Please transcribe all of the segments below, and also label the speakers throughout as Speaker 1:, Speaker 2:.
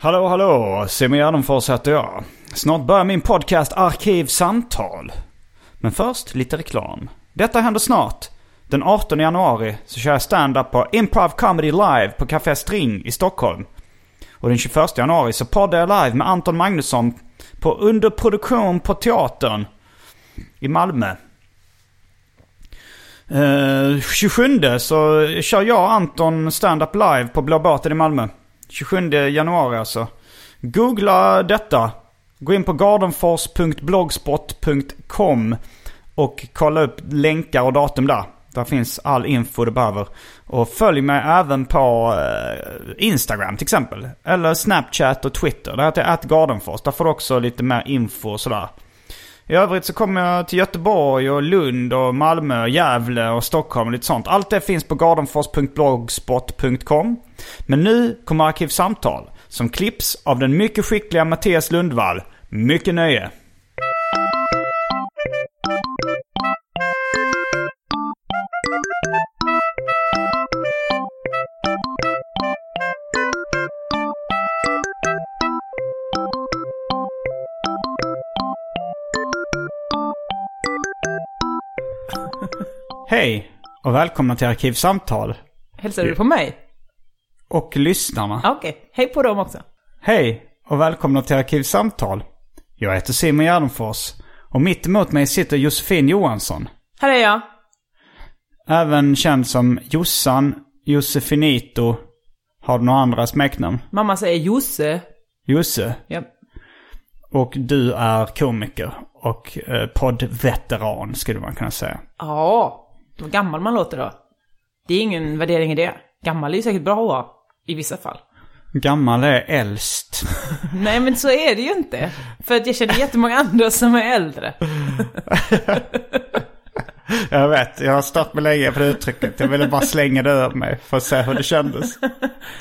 Speaker 1: hallå hallå, Simon Gärdenfors heter jag. Snart börjar min podcast Arkivsamtal. Men först lite reklam. Detta händer snart. Den 18 januari så kör jag stand-up på Improv Comedy Live på Café String i Stockholm. Och den 21 januari så poddar jag live med Anton Magnusson på Underproduktion på Teatern i Malmö. Eh, 27 så kör jag och Anton stand-up live på Blå Båten i Malmö. 27 januari alltså. Googla detta. Gå in på gardenfors.blogspot.com och kolla upp länkar och datum där. Där finns all info du behöver. Och följ mig även på eh, Instagram till exempel. Eller Snapchat och Twitter. Där heter jag atgardenfors. Där får du också lite mer info och sådär. I övrigt så kommer jag till Göteborg och Lund och Malmö och Gävle och Stockholm och lite sånt. Allt det finns på gardenfors.blogspot.com. Men nu kommer Arkivsamtal som klipps av den mycket skickliga Mattias Lundvall. Mycket nöje! Hej och välkomna till Arkivsamtal
Speaker 2: Hälsar du på mig? Ah,
Speaker 1: och lyssnarna.
Speaker 2: Ja, Okej, hej på dem också.
Speaker 1: Hej och välkomna till Arkivsamtal. Jag heter Simon Gärdenfors och mitt emot mig sitter Josefin Johansson.
Speaker 2: Här är jag.
Speaker 1: Även känd som Jossan, Josefinito. Har du några andra smeknamn?
Speaker 2: Mamma säger Josse.
Speaker 1: Josse.
Speaker 2: Ja.
Speaker 1: Och du är komiker och eh, poddveteran skulle man kunna säga.
Speaker 2: Ja, vad gammal man låter då. Det är ingen värdering i det. Gammal är ju säkert bra att vara. I vissa fall.
Speaker 1: Gammal är äldst.
Speaker 2: Nej men så är det ju inte. För att jag känner jättemånga andra som är äldre.
Speaker 1: jag vet, jag har stört mig länge på det uttrycket. Jag ville bara slänga det över mig för att se hur det kändes.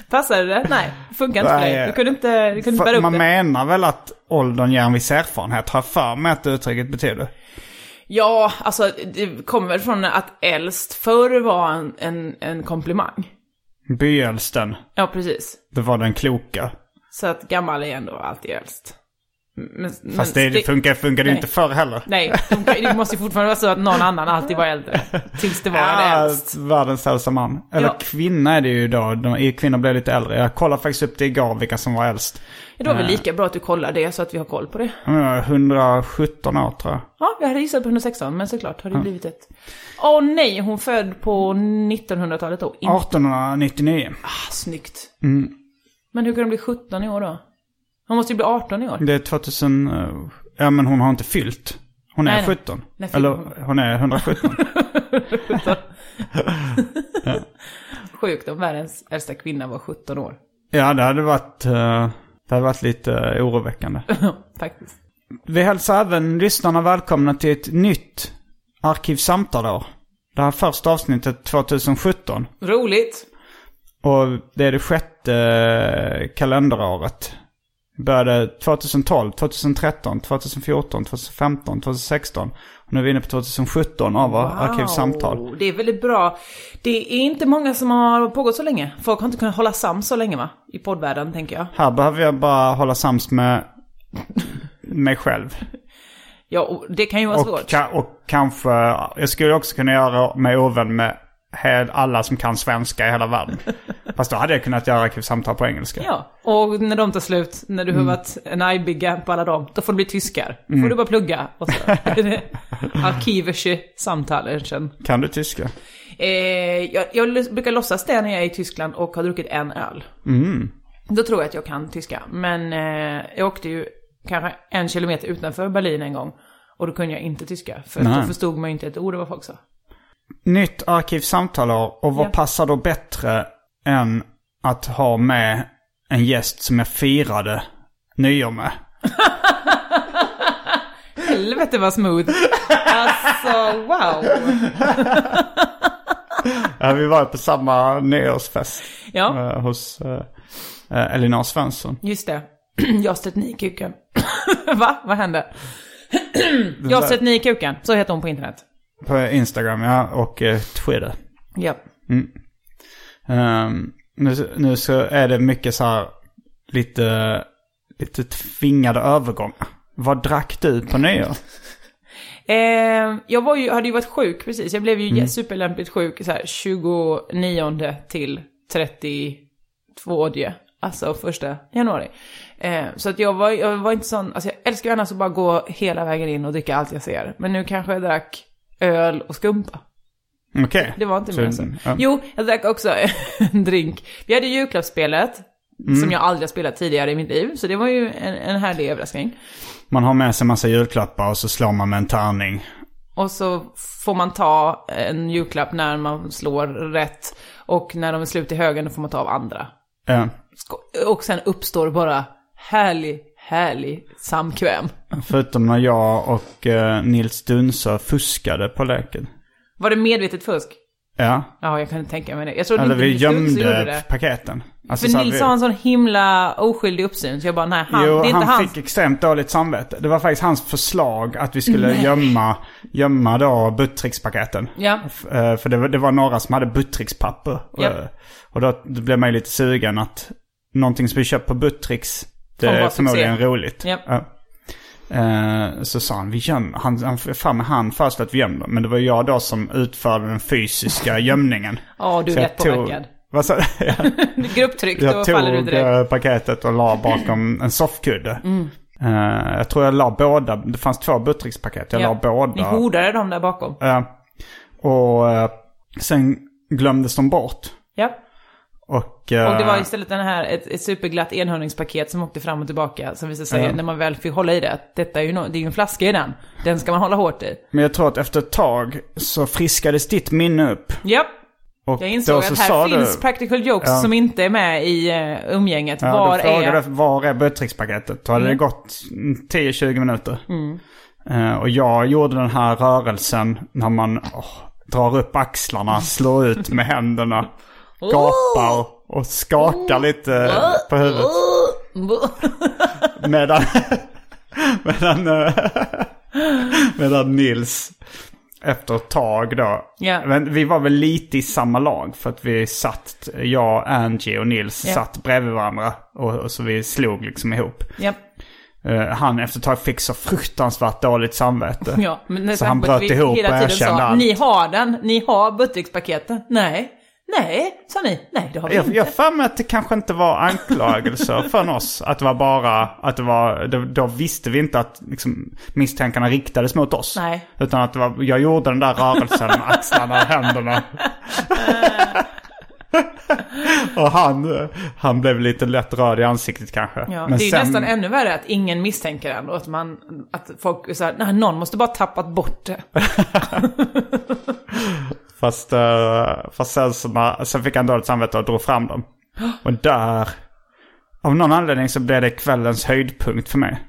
Speaker 2: Passade det? Nej, funkar inte för dig.
Speaker 1: Nej.
Speaker 2: Du kunde inte, du kunde inte bära
Speaker 1: För man
Speaker 2: upp det.
Speaker 1: menar väl att åldern ger en viss erfarenhet, har jag för mig att det uttrycket betyder.
Speaker 2: Ja, alltså det kommer väl från att äldst förr var en, en, en komplimang.
Speaker 1: Byäldsten,
Speaker 2: Ja, precis.
Speaker 1: det var den kloka.
Speaker 2: Så att gammal är ändå alltid äldst. Men,
Speaker 1: Fast det, det funkar, funkar det ju
Speaker 2: Nej.
Speaker 1: inte förr heller.
Speaker 2: Nej, de- det måste ju fortfarande vara så att någon annan alltid var äldre. Tills det var en
Speaker 1: Allt
Speaker 2: äldst.
Speaker 1: världens äldsta man. Eller
Speaker 2: Ja.
Speaker 1: kvinna är det ju då. De, kvinnor blir lite äldre. Jag kollade faktiskt upp det igår vilka som var äldst.
Speaker 2: Då är det väl lika bra att du kollar det så att vi har koll på det.
Speaker 1: De var 117 år tror jag.
Speaker 2: Ja, jag hade gissat på 116, men såklart har det blivit ett... Åh nej, hon född på 1900-talet då. In...
Speaker 1: 1899.
Speaker 2: Ah, snyggt. Men hur kan hon bli 17 i år då? Hon måste ju bli 18 i år.
Speaker 1: Det är 2000... eh, Ja men hon har inte fyllt. Hon är
Speaker 2: Nej, nej.
Speaker 1: 17.
Speaker 2: Nej, fyllt.
Speaker 1: Eller hon är 117.
Speaker 2: Sjukt om världens äldsta kvinna var 17 år.
Speaker 1: ja det hade varit... eh, Det hade varit lite eh, oroväckande.
Speaker 2: Faktiskt.
Speaker 1: Vi hälsar även lyssnarna välkomna till ett nytt Arkivsamtal-år. Det här första avsnittet 2017.
Speaker 2: Roligt.
Speaker 1: Och det är det sjätte eh, kalenderåret. Började 2012, 2013, 2014, 2015, 2016. Och nu är vi inne på 2017 av wow. Arkivsamtal.
Speaker 2: Wow, Det är väldigt bra. Det är inte många som har pågått så länge. Folk har inte kunnat hålla sams så länge va? I poddvärlden tänker jag.
Speaker 1: Här behöver jag bara hålla sams med mig själv.
Speaker 2: Ja, och det kan ju vara
Speaker 1: Och,
Speaker 2: svårt.
Speaker 1: ka- och kanske, jag skulle också kunna göra mig ovän med hel- alla som kan svenska i hela världen. Fast då hade jag kunnat göra arkivsamtal på engelska.
Speaker 2: Ja, och när de tar slut, när du har varit en argbigga på alla dem, då får det bli tyskar. Då får du bara plugga. och så. Arkivische Samtalen.
Speaker 1: Kan du tyska?
Speaker 2: Eh, jag, jag l- brukar låtsas det när jag är i Tyskland och har druckit en öl. Mm. Då tror jag att jag kan tyska. Men eh, jag åkte ju kanske en kilometer utanför Berlin en gång. Och då kunde jag inte tyska. För
Speaker 1: Nej.
Speaker 2: då förstod man ju inte ett ord av vad folk sa.
Speaker 1: Nytt arkivsamtalår och vad
Speaker 2: Ja.
Speaker 1: passar då bättre än att ha med en gäst som jag firade nyår med?
Speaker 2: Helvete vad smooth. Alltså wow.
Speaker 1: Ja, vi var ju på samma nyårsfest
Speaker 2: Ja,
Speaker 1: eh, hos eh, eh, Elinor Svensson.
Speaker 2: just det. Jag har stött ny i kuken. Va? Vad hände? Jag har stött ny i kuken. Så heter hon på internet.
Speaker 1: På Instagram, ja, och eh, Twitter.
Speaker 2: Ja.
Speaker 1: Ehm, nu, nu så är det mycket så här lite, lite tvingade övergångar. Vad drack du på nyår?
Speaker 2: Eh, jag var ju, hade ju varit sjuk precis. Jag blev ju superlämpligt sjuk så här, 29 till 32. Alltså första januari. Eh, så att jag var, jag var inte sån, alltså jag älskar ju annars att bara gå hela vägen in och dricka allt jag ser. Men nu kanske jag drack öl och skumpa.
Speaker 1: Okej.
Speaker 2: Det var inte
Speaker 1: Så-
Speaker 2: mer än så.
Speaker 1: ja.
Speaker 2: Jo, jag drack också en drink. Vi hade julklappsspelet.
Speaker 1: Mm.
Speaker 2: Som jag aldrig har spelat tidigare i mitt liv. Så det var ju en, en härlig överraskning.
Speaker 1: Man har med sig massa julklappar och så slår man med en tärning.
Speaker 2: Och så får man ta en julklapp när man slår rätt. Och när de är slut i högen då får man ta av andra.
Speaker 1: Ja.
Speaker 2: Sko- Och sen uppstår bara härlig, härlig samkväm.
Speaker 1: Förutom när jag och eh, Nils Dunsö fuskade på leken.
Speaker 2: Var det medvetet fusk?
Speaker 1: Ja.
Speaker 2: Ja, jag kan inte tänka mig det. Jag trodde
Speaker 1: Eller
Speaker 2: inte
Speaker 1: vi
Speaker 2: Nils Lundgren gjorde
Speaker 1: gömde
Speaker 2: det.
Speaker 1: paketen. Alltså, så
Speaker 2: För
Speaker 1: här,
Speaker 2: Nils
Speaker 1: vi-
Speaker 2: har en sån himla oskyldig uppsyn, så jag bara nej, han,
Speaker 1: jo,
Speaker 2: det är
Speaker 1: han
Speaker 2: inte hans.
Speaker 1: fick extremt dåligt samvete. Det var faktiskt hans förslag att vi skulle gömma, gömma då buttrickspaketen.
Speaker 2: Ja.
Speaker 1: F- eh, För det var, det var några som hade buttrickspapper.
Speaker 2: Ja.
Speaker 1: Eh, Och då då blev man ju lite sugen att någonting som vi köpt på buttricks, det
Speaker 2: Kommer
Speaker 1: är
Speaker 2: vara
Speaker 1: förmodligen
Speaker 2: succé.
Speaker 1: roligt.
Speaker 2: Ja.
Speaker 1: Ja. Eh, Så sa han, vi gömmer, han, han fram med han först att vi gömde Men det var jag då som utförde den fysiska gömningen.
Speaker 2: Ja, du är
Speaker 1: Så jag
Speaker 2: lättpåverkad.
Speaker 1: tog- Vad sa du?
Speaker 2: Grupptryck, då
Speaker 1: Jag
Speaker 2: faller du
Speaker 1: tog
Speaker 2: direkt. Mm.
Speaker 1: eh, paketet och la bakom en soffkudde. Eh, jag tror jag la båda. Det fanns två buttrickspaket. Jag la båda.
Speaker 2: Ni hordade dem där bakom.
Speaker 1: Eh, och eh, sen glömdes de bort.
Speaker 2: Ja.
Speaker 1: Och, eh,
Speaker 2: Och det var istället den här, ett, ett superglatt enhörningspaket som åkte fram och tillbaka. Som visade sig, när man väl fick hålla i det, att detta är ju, no, det är ju en flaska i den. Den ska man hålla hårt i.
Speaker 1: Men jag tror att efter ett tag så friskades ditt minne upp.
Speaker 2: Ja.
Speaker 1: Och
Speaker 2: Jag insåg
Speaker 1: då
Speaker 2: att
Speaker 1: så
Speaker 2: här
Speaker 1: sa
Speaker 2: finns
Speaker 1: du,
Speaker 2: practical jokes som inte är med i eh, umgänget.
Speaker 1: Ja,
Speaker 2: Var
Speaker 1: du frågade
Speaker 2: är...
Speaker 1: var är buttrickspaketet? Då hade det gått mm, 10-20 minuter.
Speaker 2: Mm.
Speaker 1: Eh, och jag gjorde den här rörelsen när man åh, drar upp axlarna, slår ut med händerna,
Speaker 2: Oh!
Speaker 1: gapar och skakar lite på huvudet. Medan, medan, eh, medan Nils efter ett tag då.
Speaker 2: Ja.
Speaker 1: Men vi var väl lite i samma lag för att vi satt, jag, Angie och Nils
Speaker 2: Ja.
Speaker 1: satt bredvid varandra. Och, och så vi slog liksom ihop.
Speaker 2: Ja.
Speaker 1: Eh, han efter ett tag fick så fruktansvärt dåligt samvete.
Speaker 2: Ja, men när
Speaker 1: så han
Speaker 2: Sandberg
Speaker 1: bröt
Speaker 2: fick
Speaker 1: ihop och
Speaker 2: hela tiden
Speaker 1: erkände
Speaker 2: sa,
Speaker 1: allt.
Speaker 2: Ni har den, ni har buttrickspaketen. Nej, nej, sa ni. Nej, det har vi
Speaker 1: Jag
Speaker 2: inte.
Speaker 1: jag har för mig att det kanske inte var anklagelser från oss. Att det var bara, att det var, då, då visste vi inte att liksom, misstankarna riktades mot oss.
Speaker 2: Nej.
Speaker 1: Utan att det var, jag gjorde den där rörelsen med axlarna och händerna. och han, han blev lite lätt röd i ansiktet kanske.
Speaker 2: Ja,
Speaker 1: Men
Speaker 2: det är ju
Speaker 1: sen-
Speaker 2: nästan ännu värre att ingen misstänker en och att, man, att folk är så här, "Nej, någon måste bara tappat bort det.
Speaker 1: Fast, eh, fast sen, så, bara- sen fick han dåligt samvete och drog fram dem. Och där, av någon anledning så blev det kvällens höjdpunkt för mig.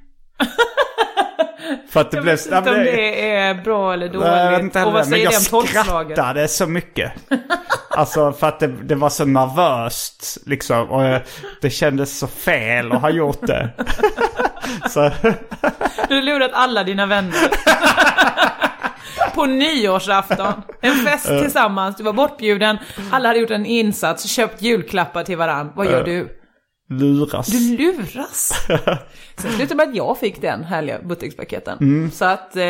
Speaker 1: för att det blev...
Speaker 2: Jag vet inte om det är bra eller dåligt.
Speaker 1: Nej, jag vet inte
Speaker 2: och
Speaker 1: heller,
Speaker 2: vad
Speaker 1: men
Speaker 2: säger
Speaker 1: jag
Speaker 2: det om tolvslaget?
Speaker 1: skrattade så mycket. Alltså för att det, det var så nervöst liksom. Och eh, det kändes så fel att ha gjort det. så,
Speaker 2: Du har lurat alla dina vänner. På nyårsafton. En fest tillsammans, du var bortbjuden, alla hade gjort en insats, köpt julklappar till varann. Vad gör du?
Speaker 1: luras.
Speaker 2: Du luras! Sen slutade med att jag fick den härliga butterkspaketen. Så att eh,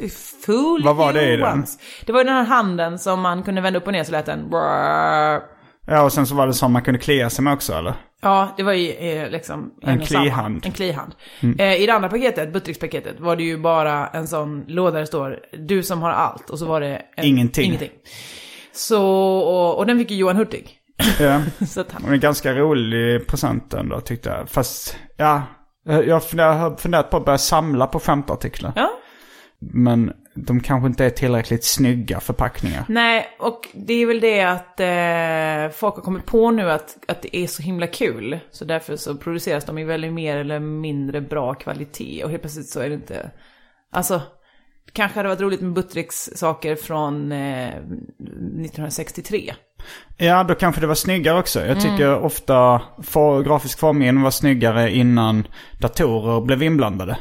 Speaker 2: f- fool
Speaker 1: Mm. Vad var
Speaker 2: you
Speaker 1: det i den?
Speaker 2: once. Det var ju den här handen som man kunde vända upp och ner så lät den...
Speaker 1: Ja, och sen så var det som man kunde klia sig med också, eller?
Speaker 2: Ja, det var ju eh, liksom...
Speaker 1: En Mm.
Speaker 2: och samma.
Speaker 1: klihand.
Speaker 2: En klihand. Eh, I det andra paketet, Buttrickspaketet, var det ju bara en sån låda där det står du som har allt. Och så var det... En,
Speaker 1: Ingenting.
Speaker 2: Ingenting. Så, och, och den fick ju Johan Hurtig.
Speaker 1: Ja.
Speaker 2: så att han,
Speaker 1: Och en ganska rolig present ändå, tyckte jag. Fast, ja. Jag har funder- jag har funderat på att börja samla på skämtartiklar.
Speaker 2: ja.
Speaker 1: Men de kanske inte är tillräckligt snygga förpackningar.
Speaker 2: Nej, och det är väl det att eh, folk har kommit på nu att, att det är så himla kul. Så därför så produceras de ju väldigt mer eller mindre bra kvalitet. Och helt plötsligt så är det inte... Alltså, kanske hade det varit roligt med Buttricks saker från eh, 1963.
Speaker 1: Ja, då kanske det var snyggare också.
Speaker 2: Mm.
Speaker 1: Jag tycker ofta for, grafisk formgivning var snyggare innan datorer blev inblandade.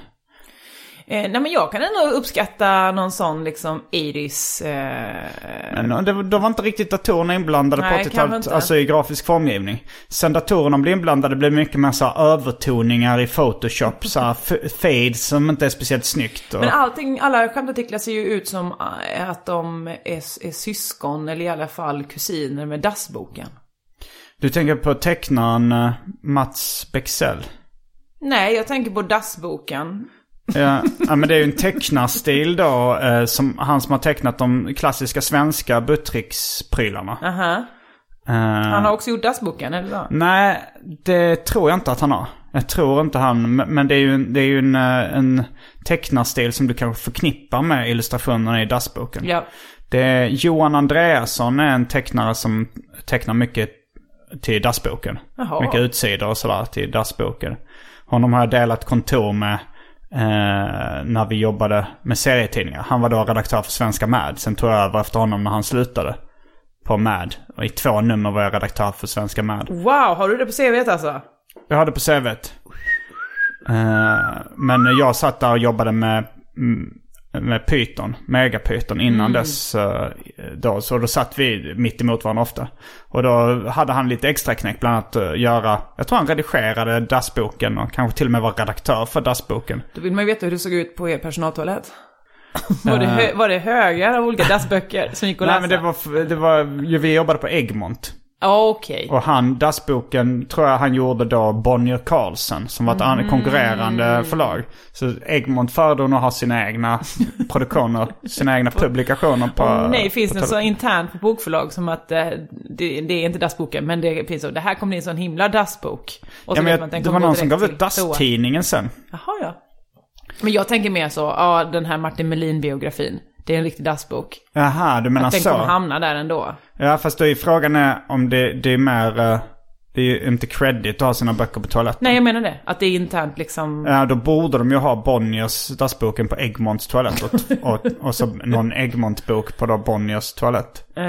Speaker 2: Eh, nej men jag kan ändå uppskatta någon sån liksom 80s... Eh,
Speaker 1: Men det, var- då var inte riktigt datorerna inblandade
Speaker 2: Nej,
Speaker 1: på
Speaker 2: kanske
Speaker 1: 80-talet,
Speaker 2: inte.
Speaker 1: alltså i grafisk formgivning. Sen datorerna blev inblandade blev det mycket mer så här övertoningar i Photoshop, så här f- fades som inte är speciellt snyggt. Och,
Speaker 2: Men allting, alla skämtartiklar ser ju ut som eh, att de är, är syskon eller i alla fall kusiner med dassboken.
Speaker 1: Du tänker på tecknaren eh, Mats Bexell?
Speaker 2: Nej, jag tänker på dassboken.
Speaker 1: Ja, ja, men det är ju en tecknarstil då, eh, som han som har tecknat de klassiska svenska Buttricks-prylarna.
Speaker 2: Aha.
Speaker 1: Eh,
Speaker 2: Han har också gjort dassboken, eller vad?
Speaker 1: Nej, det tror jag inte att han har. Jag tror inte han, men men det är ju, en- det är ju en, eh, en tecknarstil som du kanske förknippar med illustrationerna i dassboken.
Speaker 2: Ja.
Speaker 1: Det är, Johan Andreasson är en tecknare som tecknar mycket till dassboken.
Speaker 2: Jaha.
Speaker 1: Mycket utsidor och sådär till dassboken. Honom har jag delat kontor med eh, när vi jobbade med serietidningar. Han var då redaktör för Svenska Mad. Sen tog jag över efter honom när han slutade på Mad. Och i två nummer var jag redaktör för Svenska Mad.
Speaker 2: Wow, har du det på CVt alltså?
Speaker 1: Jag hade på CVt. Eh, men jag satt där och jobbade med, mm, med Python, Megapython innan dess. eh, då, så då satt vi mitt emot varandra ofta. Och då hade han lite extra knäck bland annat eh, göra, jag tror han redigerade dassboken och kanske till och med var redaktör för dassboken.
Speaker 2: Då vill man ju veta hur det såg ut på er personaltoalett. Var det, hö- var det högar av olika dassböcker som gick att läsa?
Speaker 1: Nej men det var, f- det var, ju vi jobbade på Egmont.
Speaker 2: Ja, Okej.
Speaker 1: Och han, dassboken, tror jag han gjorde då Bonnier Carlsen som var ett
Speaker 2: Mm.
Speaker 1: an- konkurrerande förlag. Så Egmont föredrog nog att ha sina egna produktioner, sina egna publikationer på...
Speaker 2: Åh Nej, finns
Speaker 1: på
Speaker 2: det något så
Speaker 1: tele-
Speaker 2: internt på bokförlag som att eh, det, det är inte dassboken, men det finns så, det här kommer bli en sån himla dassbok. Och
Speaker 1: Ja, men
Speaker 2: vet
Speaker 1: jag,
Speaker 2: man att den
Speaker 1: det var
Speaker 2: kommer gå
Speaker 1: någon som
Speaker 2: direkt
Speaker 1: gav ut
Speaker 2: till toan.
Speaker 1: Dasstidningen sen.
Speaker 2: Jaha, ja. Men jag tänker mer så, ja, den här Martin Melin-biografin, det är en riktig dassbok.
Speaker 1: Jaha, du menar
Speaker 2: Den
Speaker 1: så?
Speaker 2: kommer hamna där ändå.
Speaker 1: Ja, fast då är frågan är om det, det är mer... eh, Det är ju inte credit att ha sina böcker på toaletten.
Speaker 2: Nej, jag menar det. Att det är internt liksom.
Speaker 1: Ja, då borde de ju ha Bonniers dassboken på Egmonts toalett och, och, och så någon Egmont-bok på då Bonniers toalett.
Speaker 2: Eh,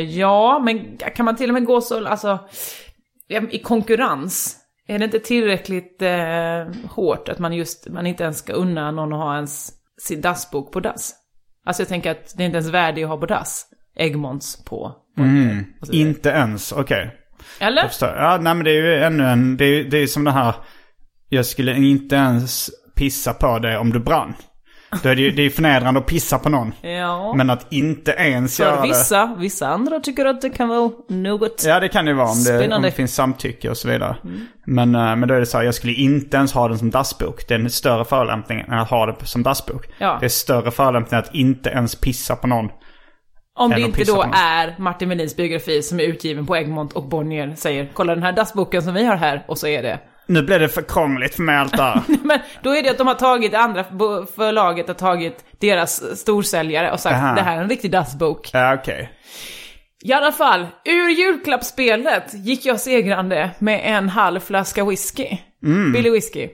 Speaker 2: ja, men kan man till och med gå så, alltså, i konkurrens? Är det inte tillräckligt eh, hårt att man just, man inte ens ska unna någon att ha ens sin dassbok på dass? Alltså jag tänker att det är inte ens värde att ha på dass. Egmonts på. Och så vidare.
Speaker 1: Inte ens, okej.
Speaker 2: Eller?
Speaker 1: Jag förstår. Ja, nej men det är ju ännu en, det är, det är som det här, jag skulle inte ens pissa på dig om du brann. Då är det, ju, det är ju förnedrande att pissa på någon.
Speaker 2: Ja.
Speaker 1: Men att inte ens göra
Speaker 2: För
Speaker 1: det.
Speaker 2: vissa, vissa andra tycker att det kan vara något.
Speaker 1: Ja det kan det ju vara om det, om
Speaker 2: Spännande.
Speaker 1: det finns samtycke och så vidare.
Speaker 2: Mm.
Speaker 1: Men, eh, men då är det så här, jag skulle inte ens ha den som dassbok. Det är en större förolämpning än att ha det som dassbok.
Speaker 2: Ja.
Speaker 1: Det är större förolämpning att inte ens pissa på någon.
Speaker 2: Om det
Speaker 1: Än att
Speaker 2: inte
Speaker 1: pissa
Speaker 2: då
Speaker 1: på någon.
Speaker 2: är Martin Melins biografi som är utgiven på Egmont och Bonnier säger kolla den här dassboken som vi har här och så är det.
Speaker 1: Nu blev det för krångligt för mig allt det här.
Speaker 2: Men då är det att de har tagit, det andra bo- förlaget har tagit deras storsäljare och sagt
Speaker 1: Aha.
Speaker 2: det här är en riktig dassbok.
Speaker 1: Ja okej.
Speaker 2: I alla fall, ur julklappsspelet gick jag segrande med en halv flaska whisky. Billy whisky.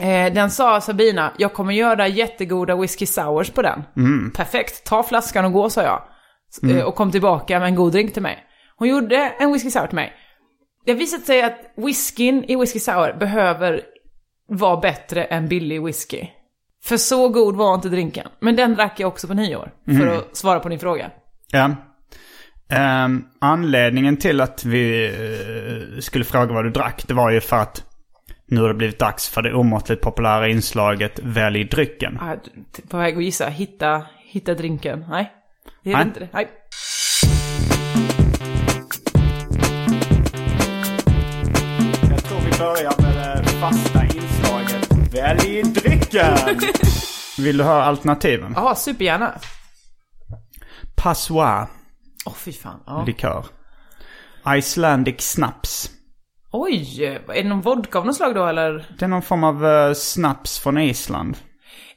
Speaker 2: Eh, den sa Sabina, jag kommer göra jättegoda whisky sours på den. Perfekt, ta flaskan och gå sa jag. S- eh, Och kom tillbaka med en god drink till mig. Hon gjorde en whisky sour till mig. Det har visat sig att whiskyn i whisky sour behöver vara bättre än billig whisky. För så god var inte drinken. Men den drack jag också på nyår. För att svara på din fråga.
Speaker 1: Ja. Ehm, anledningen till att vi eh, skulle fråga vad du drack, det var ju för att Nu har det blivit dags för det omåttligt populära inslaget Välj drycken.
Speaker 2: Ah, t- på väg att gissa. Hitta, hitta drinken. Nej. Det är
Speaker 1: Nej.
Speaker 2: inte det. Nej.
Speaker 1: Jag tror vi börjar med det fasta inslaget Välj drycken! Vill du höra alternativen?
Speaker 2: Ja, supergärna.
Speaker 1: Passoir,
Speaker 2: Åh, fy fan. Ja.
Speaker 1: likör. Icelandic snaps.
Speaker 2: Oj! Är det någon vodka av något slag då eller?
Speaker 1: Det är någon form av eh, snaps från Island.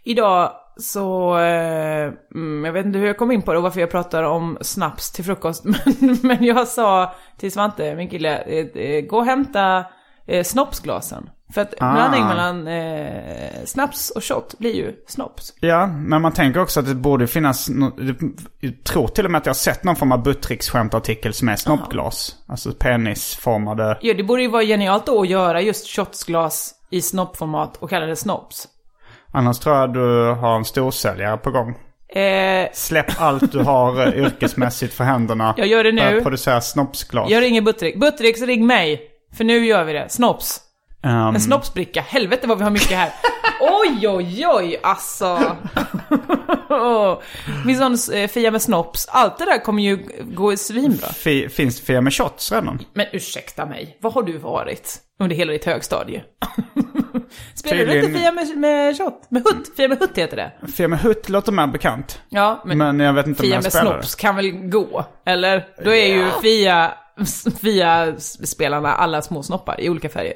Speaker 2: Idag så... Eh, mm, jag vet inte hur jag kom in på det och varför jag pratar om snaps till frukost. Men, men jag sa till Svante, min kille, eh, eh, gå och hämta eh, snopsglasen. För att blandning mellan eh, snaps och shot blir ju snops.
Speaker 1: Ja, men man tänker också att det borde finnas... no- Jag tror till och med att jag har sett någon form av Buttricks skämtartikel som är snoppglas. Alltså penisformade...
Speaker 2: Ja, det borde ju vara genialt då att göra just shotsglas i snoppformat och kalla det snops.
Speaker 1: Annars tror jag du har en storsäljare på gång.
Speaker 2: Eh,
Speaker 1: Släpp allt du har eh, yrkesmässigt för händerna.
Speaker 2: Jag gör det nu.
Speaker 1: Börja producera snoppsglas.
Speaker 2: jag ringer Buttrick. Buttrick, så ring mig! För nu gör vi det. Snops.
Speaker 1: Ehm,
Speaker 2: En snoppsbricka. Helvete vad vi har mycket här. Oj, oj, oj, alltså. Min sån eh, Fia med snopps. Allt det där kommer ju gå svinbra.
Speaker 1: fi- finns det Fia med shots redan?
Speaker 2: Men ursäkta mig, vad har du varit under hela ditt högstadie? Spelar du
Speaker 1: Tydligen-
Speaker 2: inte Fia med, med shot? Med hutt? Fia med hutt heter det.
Speaker 1: Fia med hutt låter mer bekant.
Speaker 2: Ja, men,
Speaker 1: Men, jag vet inte om
Speaker 2: Fia
Speaker 1: jag
Speaker 2: med
Speaker 1: spelar det.
Speaker 2: snops kan väl gå? Eller? Då är ju Fia, Fia-spelarna alla små snoppar i olika färger.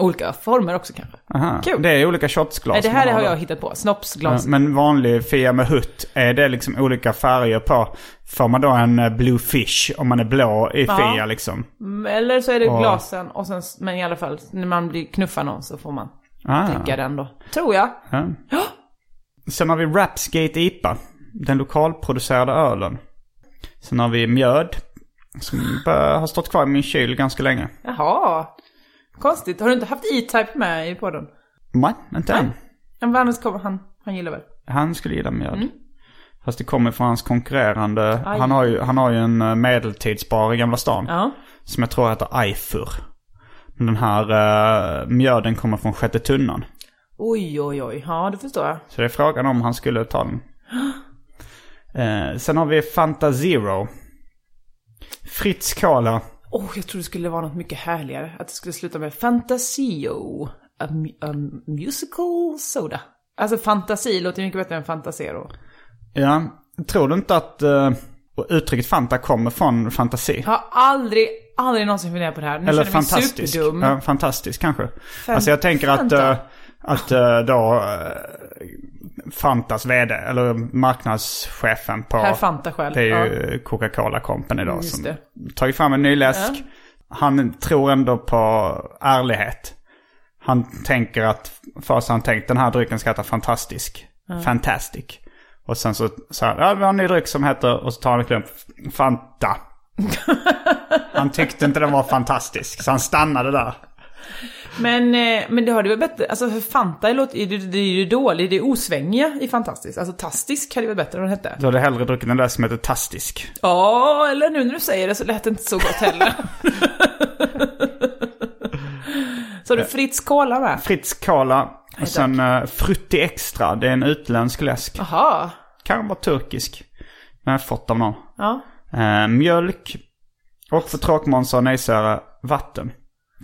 Speaker 2: Olika former också kanske.
Speaker 1: Aha.
Speaker 2: Kul.
Speaker 1: Det är olika shotsglas.
Speaker 2: Nej, det
Speaker 1: man
Speaker 2: här har
Speaker 1: då.
Speaker 2: jag hittat på. Snoppsglas.
Speaker 1: Men vanlig Fia med hutt, är det liksom olika färger på? Får man då en eh, blue fish om man är blå i Fia liksom?
Speaker 2: Eller så är det glasen och sen, men i alla fall, när man blir knuffad någon så får man
Speaker 1: Ah,
Speaker 2: dricka den då. Tror jag.
Speaker 1: ja. Sen har vi Rapsgate IPA, den lokalproducerade ölen. Sen har vi mjöd, som eh, har stått kvar i min kyl ganska länge.
Speaker 2: Jaha. Konstigt. Har du inte haft E-Type med i podden?
Speaker 1: Nej, inte än.
Speaker 2: Men annars kommer han, han gillar väl?
Speaker 1: Han skulle gilla mjöd. Fast det kommer från hans konkurrerande. Han har, ju, han har ju en eh, medeltidsbar i Gamla stan.
Speaker 2: Ja.
Speaker 1: Som jag tror heter Eifur. Men den här eh, mjöden kommer från sjätte tunnan.
Speaker 2: Oj, oj, oj. Ja, det förstår jag.
Speaker 1: Så det är frågan om han skulle ta den. Eh, sen har vi Fanta Zero. Fritz Cola.
Speaker 2: Åh, jag tror det skulle vara något mycket härligare. Att det skulle sluta med Fantasio. A, mu- a musical soda. Alltså fantasi låter ju mycket bättre än fantasero.
Speaker 1: Ja, tror du inte att eh, uttrycket Fanta kommer från fantasi?
Speaker 2: Jag har aldrig, aldrig någonsin funderat på det här. Nu
Speaker 1: Eller
Speaker 2: känner jag mig
Speaker 1: fantastisk.
Speaker 2: superdum.
Speaker 1: Ja, fantastisk kanske. alltså jag tänker att,
Speaker 2: Fanta.
Speaker 1: eh, att eh, då eh, Fantas vd, eller marknadschefen på...
Speaker 2: Herr Fanta själv,
Speaker 1: Det är ju Coca-Cola Company då
Speaker 2: Just
Speaker 1: som
Speaker 2: det.
Speaker 1: tar ju fram en ny läsk. Han tror ändå på ärlighet. Han tänker att, först har han tänkt den här drycken ska heta fantastisk. Fantastic. Och sen så, så här, ja vi har en ny dryck som heter, och så tar han en klump, Fanta. Han tyckte inte den var fantastisk, så han stannade där.
Speaker 2: Men, eh, men det har det väl bättre, alltså för Fanta låter, det, det är ju dåligt, det är osvängiga i Fantastiskt. Alltså Tastisk hade ju varit bättre om det hette.
Speaker 1: Då hade jag hellre druckit en läsk som heter Tastisk.
Speaker 2: Ja, eller nu när du säger det så lät det inte så gott heller. så har du Fritz Cola med?
Speaker 1: Fritz Cola. Och sen uh, Frutti Extra, det är en utländsk läsk.
Speaker 2: Jaha,
Speaker 1: Kan vara turkisk. Den har jag fått av någon.
Speaker 2: ja.
Speaker 1: Eh, mjölk. Och för tråkmånsar och nejsära, vatten.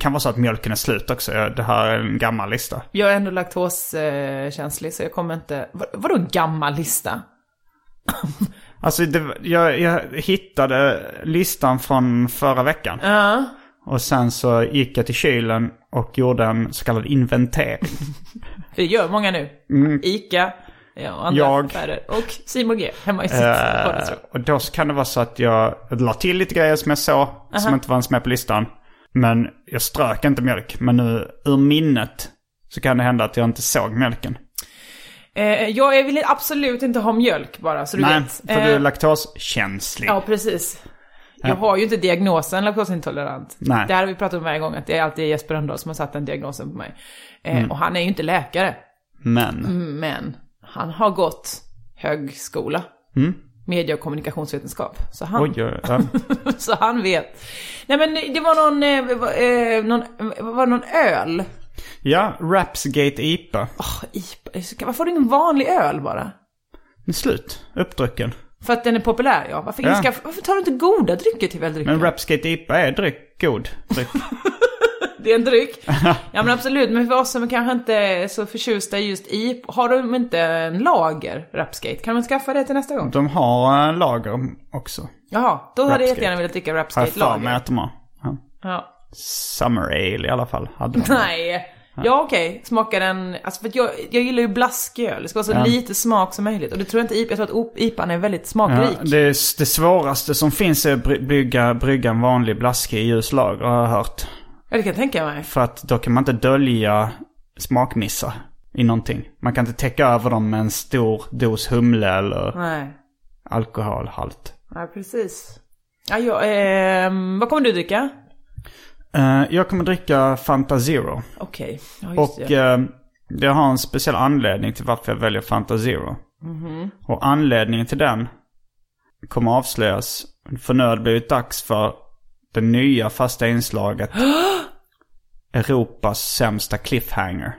Speaker 1: Kan vara så att mjölken är slut också. Jag- Det här är en gammal lista.
Speaker 2: Jag är ändå laktoskänslig så jag kommer inte... Vad, vadå en gammal lista?
Speaker 1: Alltså det, jag, jag hittade listan från förra veckan. Och sen så gick jag till kylen och gjorde en så kallad inventering.
Speaker 2: För det gör många nu. Ica ja, och andra
Speaker 1: Mm. Jag.
Speaker 2: affärer. Och Simon G hemma i sitt
Speaker 1: Eh,
Speaker 2: vardagsrum.
Speaker 1: och då så kan det vara så att jag la till lite grejer som jag såg, som inte fanns med på listan. Men jag strök inte mjölk. Men nu, ur minnet, så kan det hända att jag inte såg mjölken.
Speaker 2: Eh, jag vill absolut inte ha mjölk bara, så du
Speaker 1: Nej,
Speaker 2: vet.
Speaker 1: för du är
Speaker 2: Eh,
Speaker 1: laktoskänslig.
Speaker 2: Ja, precis. Jag har ju inte diagnosen laktosintolerant.
Speaker 1: Nej.
Speaker 2: Det här har vi pratat om varje gång, att det är alltid Jesper Rönndahl som har satt den diagnosen på mig. Eh,
Speaker 1: Mm.
Speaker 2: Och han är ju inte läkare,
Speaker 1: Men,
Speaker 2: Mm. men han har gått högskola. Media och kommunikationsvetenskap. Så han,
Speaker 1: Mm. oj, oj, ja.
Speaker 2: så eh, han vet. Nej men det var någon, eh, va- eh, någon, var det någon öl?
Speaker 1: Ja, Rapsgate IPA.
Speaker 2: Åh, IPA. Varför har du ingen vanlig öl bara?
Speaker 1: Men slut. Uppdrucken.
Speaker 2: För att den är populär, ja. Varför,
Speaker 1: Ja.
Speaker 2: Ska, varför tar du inte goda drycker till väldrycken?
Speaker 1: Men Rapsgate IPA är dryck. God dryck.
Speaker 2: Det är en dryck. ja men absolut, men för oss som kanske inte är så förtjusta i just IPA, har de inte en lager, Rapsgate? Kan man skaffa det till nästa gång?
Speaker 1: De har eh, lager också.
Speaker 2: Jaha, då hade jag
Speaker 1: Rapsgate.
Speaker 2: jättegärna velat dricka
Speaker 1: Har jag
Speaker 2: Rapsgate
Speaker 1: för mig
Speaker 2: lager.
Speaker 1: att de har. Ja.
Speaker 2: Ja.
Speaker 1: Summer Ale i alla fall. Hade de.
Speaker 2: Nej. Ja okej, smakar den... Alltså för att jag, jag gillar ju blasköl, det ska vara så lite smak som möjligt. Och det tror jag inte IPA, jag tror att IPAn är väldigt
Speaker 1: Ja,
Speaker 2: smakrik.
Speaker 1: det, det svåraste som finns är att bry- brygga, brygga en vanlig blaskig i ljus lager har jag hört.
Speaker 2: Ja, det kan jag tänka mig.
Speaker 1: För att då kan man inte dölja smakmissar i någonting. Man kan inte täcka över dem med en stor dos humle eller
Speaker 2: Nej.
Speaker 1: alkoholhalt.
Speaker 2: Ja, precis. Ja, jag, ehm, vad kommer du dricka?
Speaker 1: Eh, jag kommer dricka Fanta Zero.
Speaker 2: Okej, ja just
Speaker 1: Och
Speaker 2: det.
Speaker 1: eh, jag har en speciell anledning till varför jag väljer Fanta Zero. Och anledningen till den kommer avslöjas. För nu har det blivit dags för det nya fasta inslaget. Europas sämsta cliffhanger.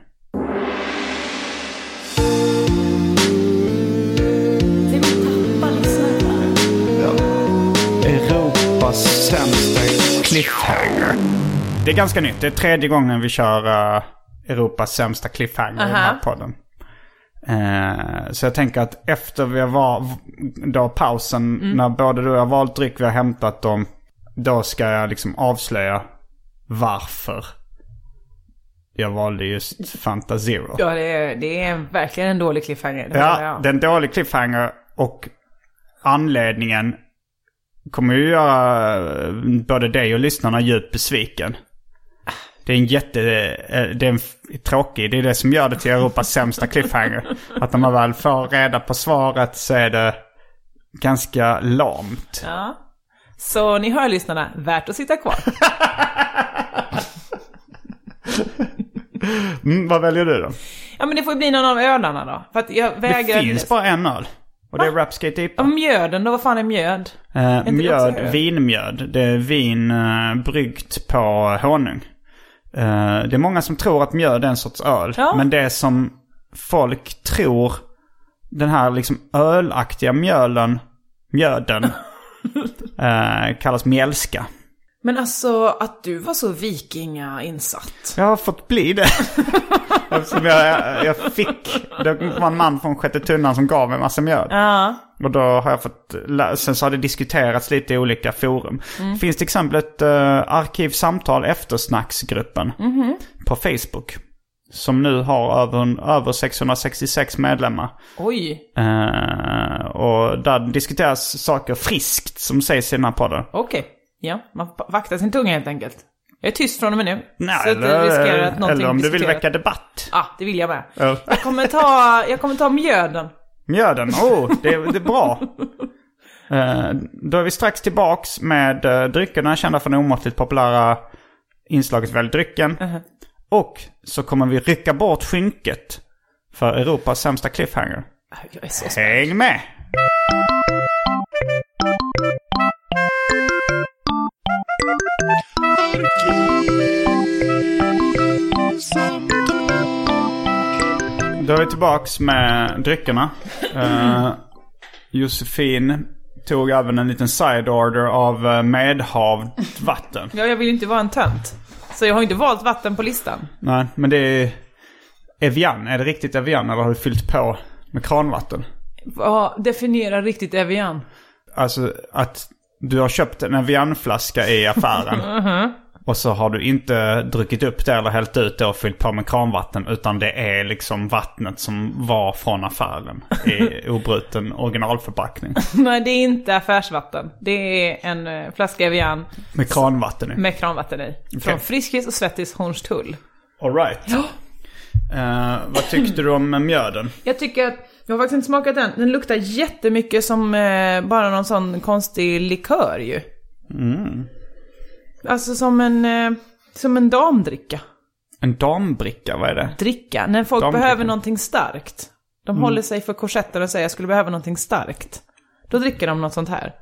Speaker 1: Europas sämsta cliffhanger. Det är ganska nytt. Det är tredje gången vi kör eh, Europas sämsta cliffhanger i den här
Speaker 2: Aha.
Speaker 1: podden. Eh, så jag tänker att efter vi var då pausen, när både du och jag valt dryck, vi har hämtat dem. Då ska jag liksom avslöja varför jag valde just Fanta Zero.
Speaker 2: Ja, det är, det är verkligen en dålig cliffhanger. Det
Speaker 1: Ja,
Speaker 2: håller jag.
Speaker 1: det är en dålig cliffhanger och anledningen kommer ju göra eh, både dig och lyssnarna djupt besviken. Det är en jätte... eh, Det är en f- tråkig... Det är det som gör det till Europas sämsta cliffhanger. Att när man väl får reda på svaret så är det ganska lamt.
Speaker 2: Ja. Så ni hör lyssnarna, värt att sitta kvar.
Speaker 1: Mm, vad väljer du då?
Speaker 2: Ja men det får ju bli någon av ölarna då. För att jag
Speaker 1: Det
Speaker 2: vägrar...
Speaker 1: finns bara en öl. Och det är Rapskate
Speaker 2: Ja,
Speaker 1: IPA.
Speaker 2: men mjöden då, vad fan är mjöd?
Speaker 1: Eh,
Speaker 2: inte det också
Speaker 1: mjöd,
Speaker 2: öl?
Speaker 1: vinmjöd. Det är vin eh, bryggt på honung. Eh, det är många som tror att mjöd är en sorts öl.
Speaker 2: Ja.
Speaker 1: Men det som folk tror, den här liksom ölaktiga mjölen, mjöden, eh, kallas mjälska.
Speaker 2: Men alltså att du var så vikingainsatt.
Speaker 1: Jag har fått bli det. Eftersom jag, jag fick, det var en man från sjätte tunnan som gav mig massa mjöd.
Speaker 2: Ja.
Speaker 1: Och då har jag fått, lä- sen så har det diskuterats lite i olika forum.
Speaker 2: Mm.
Speaker 1: Finns till exempel ett eh, arkivsamtal eftersnacksgruppen
Speaker 2: Mhm.
Speaker 1: på Facebook. Som nu har över, över 666 medlemmar.
Speaker 2: Oj,
Speaker 1: Eh, och där diskuteras saker friskt som sägs i den här podden.
Speaker 2: okej. Ja, man pa- vaktar sin tunga helt enkelt. Jag är tyst från och med nu. så att
Speaker 1: eller,
Speaker 2: vi riskerar att någonting
Speaker 1: eller om du vill
Speaker 2: diskuteras.
Speaker 1: väcka debatt.
Speaker 2: Ja, ah, det vill jag med.
Speaker 1: Ja.
Speaker 2: Jag kommer ta, jag kommer ta mjöden.
Speaker 1: Mjöden, oh, det, det är bra. Eh, då är vi strax tillbaks med uh, dryckerna kända från det omåttligt populära inslaget Välj drycken. Och så kommer vi rycka bort skynket för Europas sämsta cliffhanger.
Speaker 2: Jag är så spänd.
Speaker 1: Häng med! Då är vi tillbaks med dryckerna. Eh, Josefin tog även en liten side order av eh, medhavt vatten.
Speaker 2: Ja, jag vill ju inte vara en tönt. Så jag har ju inte valt vatten på listan.
Speaker 1: Nej, men det är Evian. Är det riktigt Evian eller har du fyllt på med kranvatten?
Speaker 2: Ja, definiera riktigt Evian.
Speaker 1: Alltså att du har köpt en Evian-flaska i affären.
Speaker 2: Uh-huh.
Speaker 1: Och så har du inte druckit upp det eller hällt ut det och fyllt på med kranvatten. Utan det är liksom vattnet som var från affären i obruten originalförpackning.
Speaker 2: Nej, det är inte affärsvatten. Det är en eh, flaska Evian
Speaker 1: Med kranvatten i.
Speaker 2: med kranvatten i. Från Friskis och Svettis Hornstull.
Speaker 1: Alright. Eh, vad tyckte du om eh, mjöden?
Speaker 2: Jag tycker att, jag har faktiskt inte smakat den. Den luktar jättemycket som eh, bara någon sån konstig likör ju. Alltså som en, eh, som en damdricka.
Speaker 1: En dambricka, vad är det?
Speaker 2: Dricka, när folk
Speaker 1: Damdricka.
Speaker 2: behöver någonting starkt. De håller sig för korsetten och säger jag skulle behöva någonting starkt. Då dricker de något sånt här.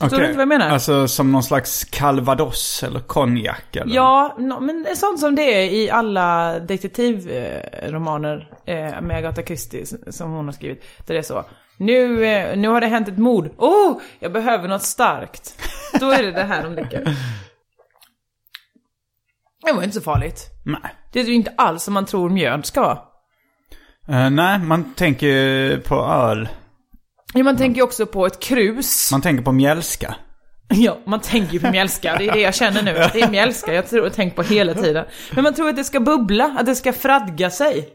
Speaker 2: Förstår du inte vad jag menar?
Speaker 1: Alltså som någon slags calvados eller konjak eller?
Speaker 2: Ja, nå- men det är sånt som det är i alla detektivromaner eh, med Agatha Christie s- som hon har skrivit. Där det är så. Nu, eh, nu har det hänt ett mord. Oh, jag behöver något starkt. Då är det det här de dricker. Det var inte så farligt.
Speaker 1: Nej.
Speaker 2: Det är ju inte alls som man tror mjöd ska vara.
Speaker 1: Eh, nej, man tänker ju på öl.
Speaker 2: Ja, man tänker ju också på ett krus.
Speaker 1: Man tänker på mjälska.
Speaker 2: Ja, man tänker ju på mjälska. Det är det jag känner nu. Det är mjälska jag tror, tänker på hela tiden. Men man tror att det ska bubbla, att det ska fradga sig.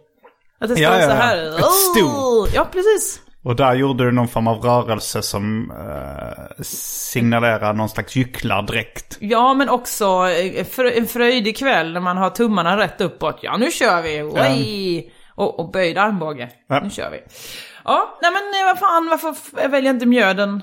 Speaker 2: Att det ska
Speaker 1: Ja,
Speaker 2: vara
Speaker 1: ja,
Speaker 2: så
Speaker 1: ja.
Speaker 2: här.
Speaker 1: Ett stort.
Speaker 2: Ja, precis.
Speaker 1: Och där gjorde du någon form av rörelse som eh, signalerar någon slags gycklardräkt.
Speaker 2: Ja, men också eh, frö- en fröjdig kväll när man har tummarna rätt uppåt. Ja, nu kör vi. Oj. Och, och böjd armbåge.
Speaker 1: Ja.
Speaker 2: Nu kör vi. Ja, nej men eh, vad fan, varför f- väljer inte mjöden?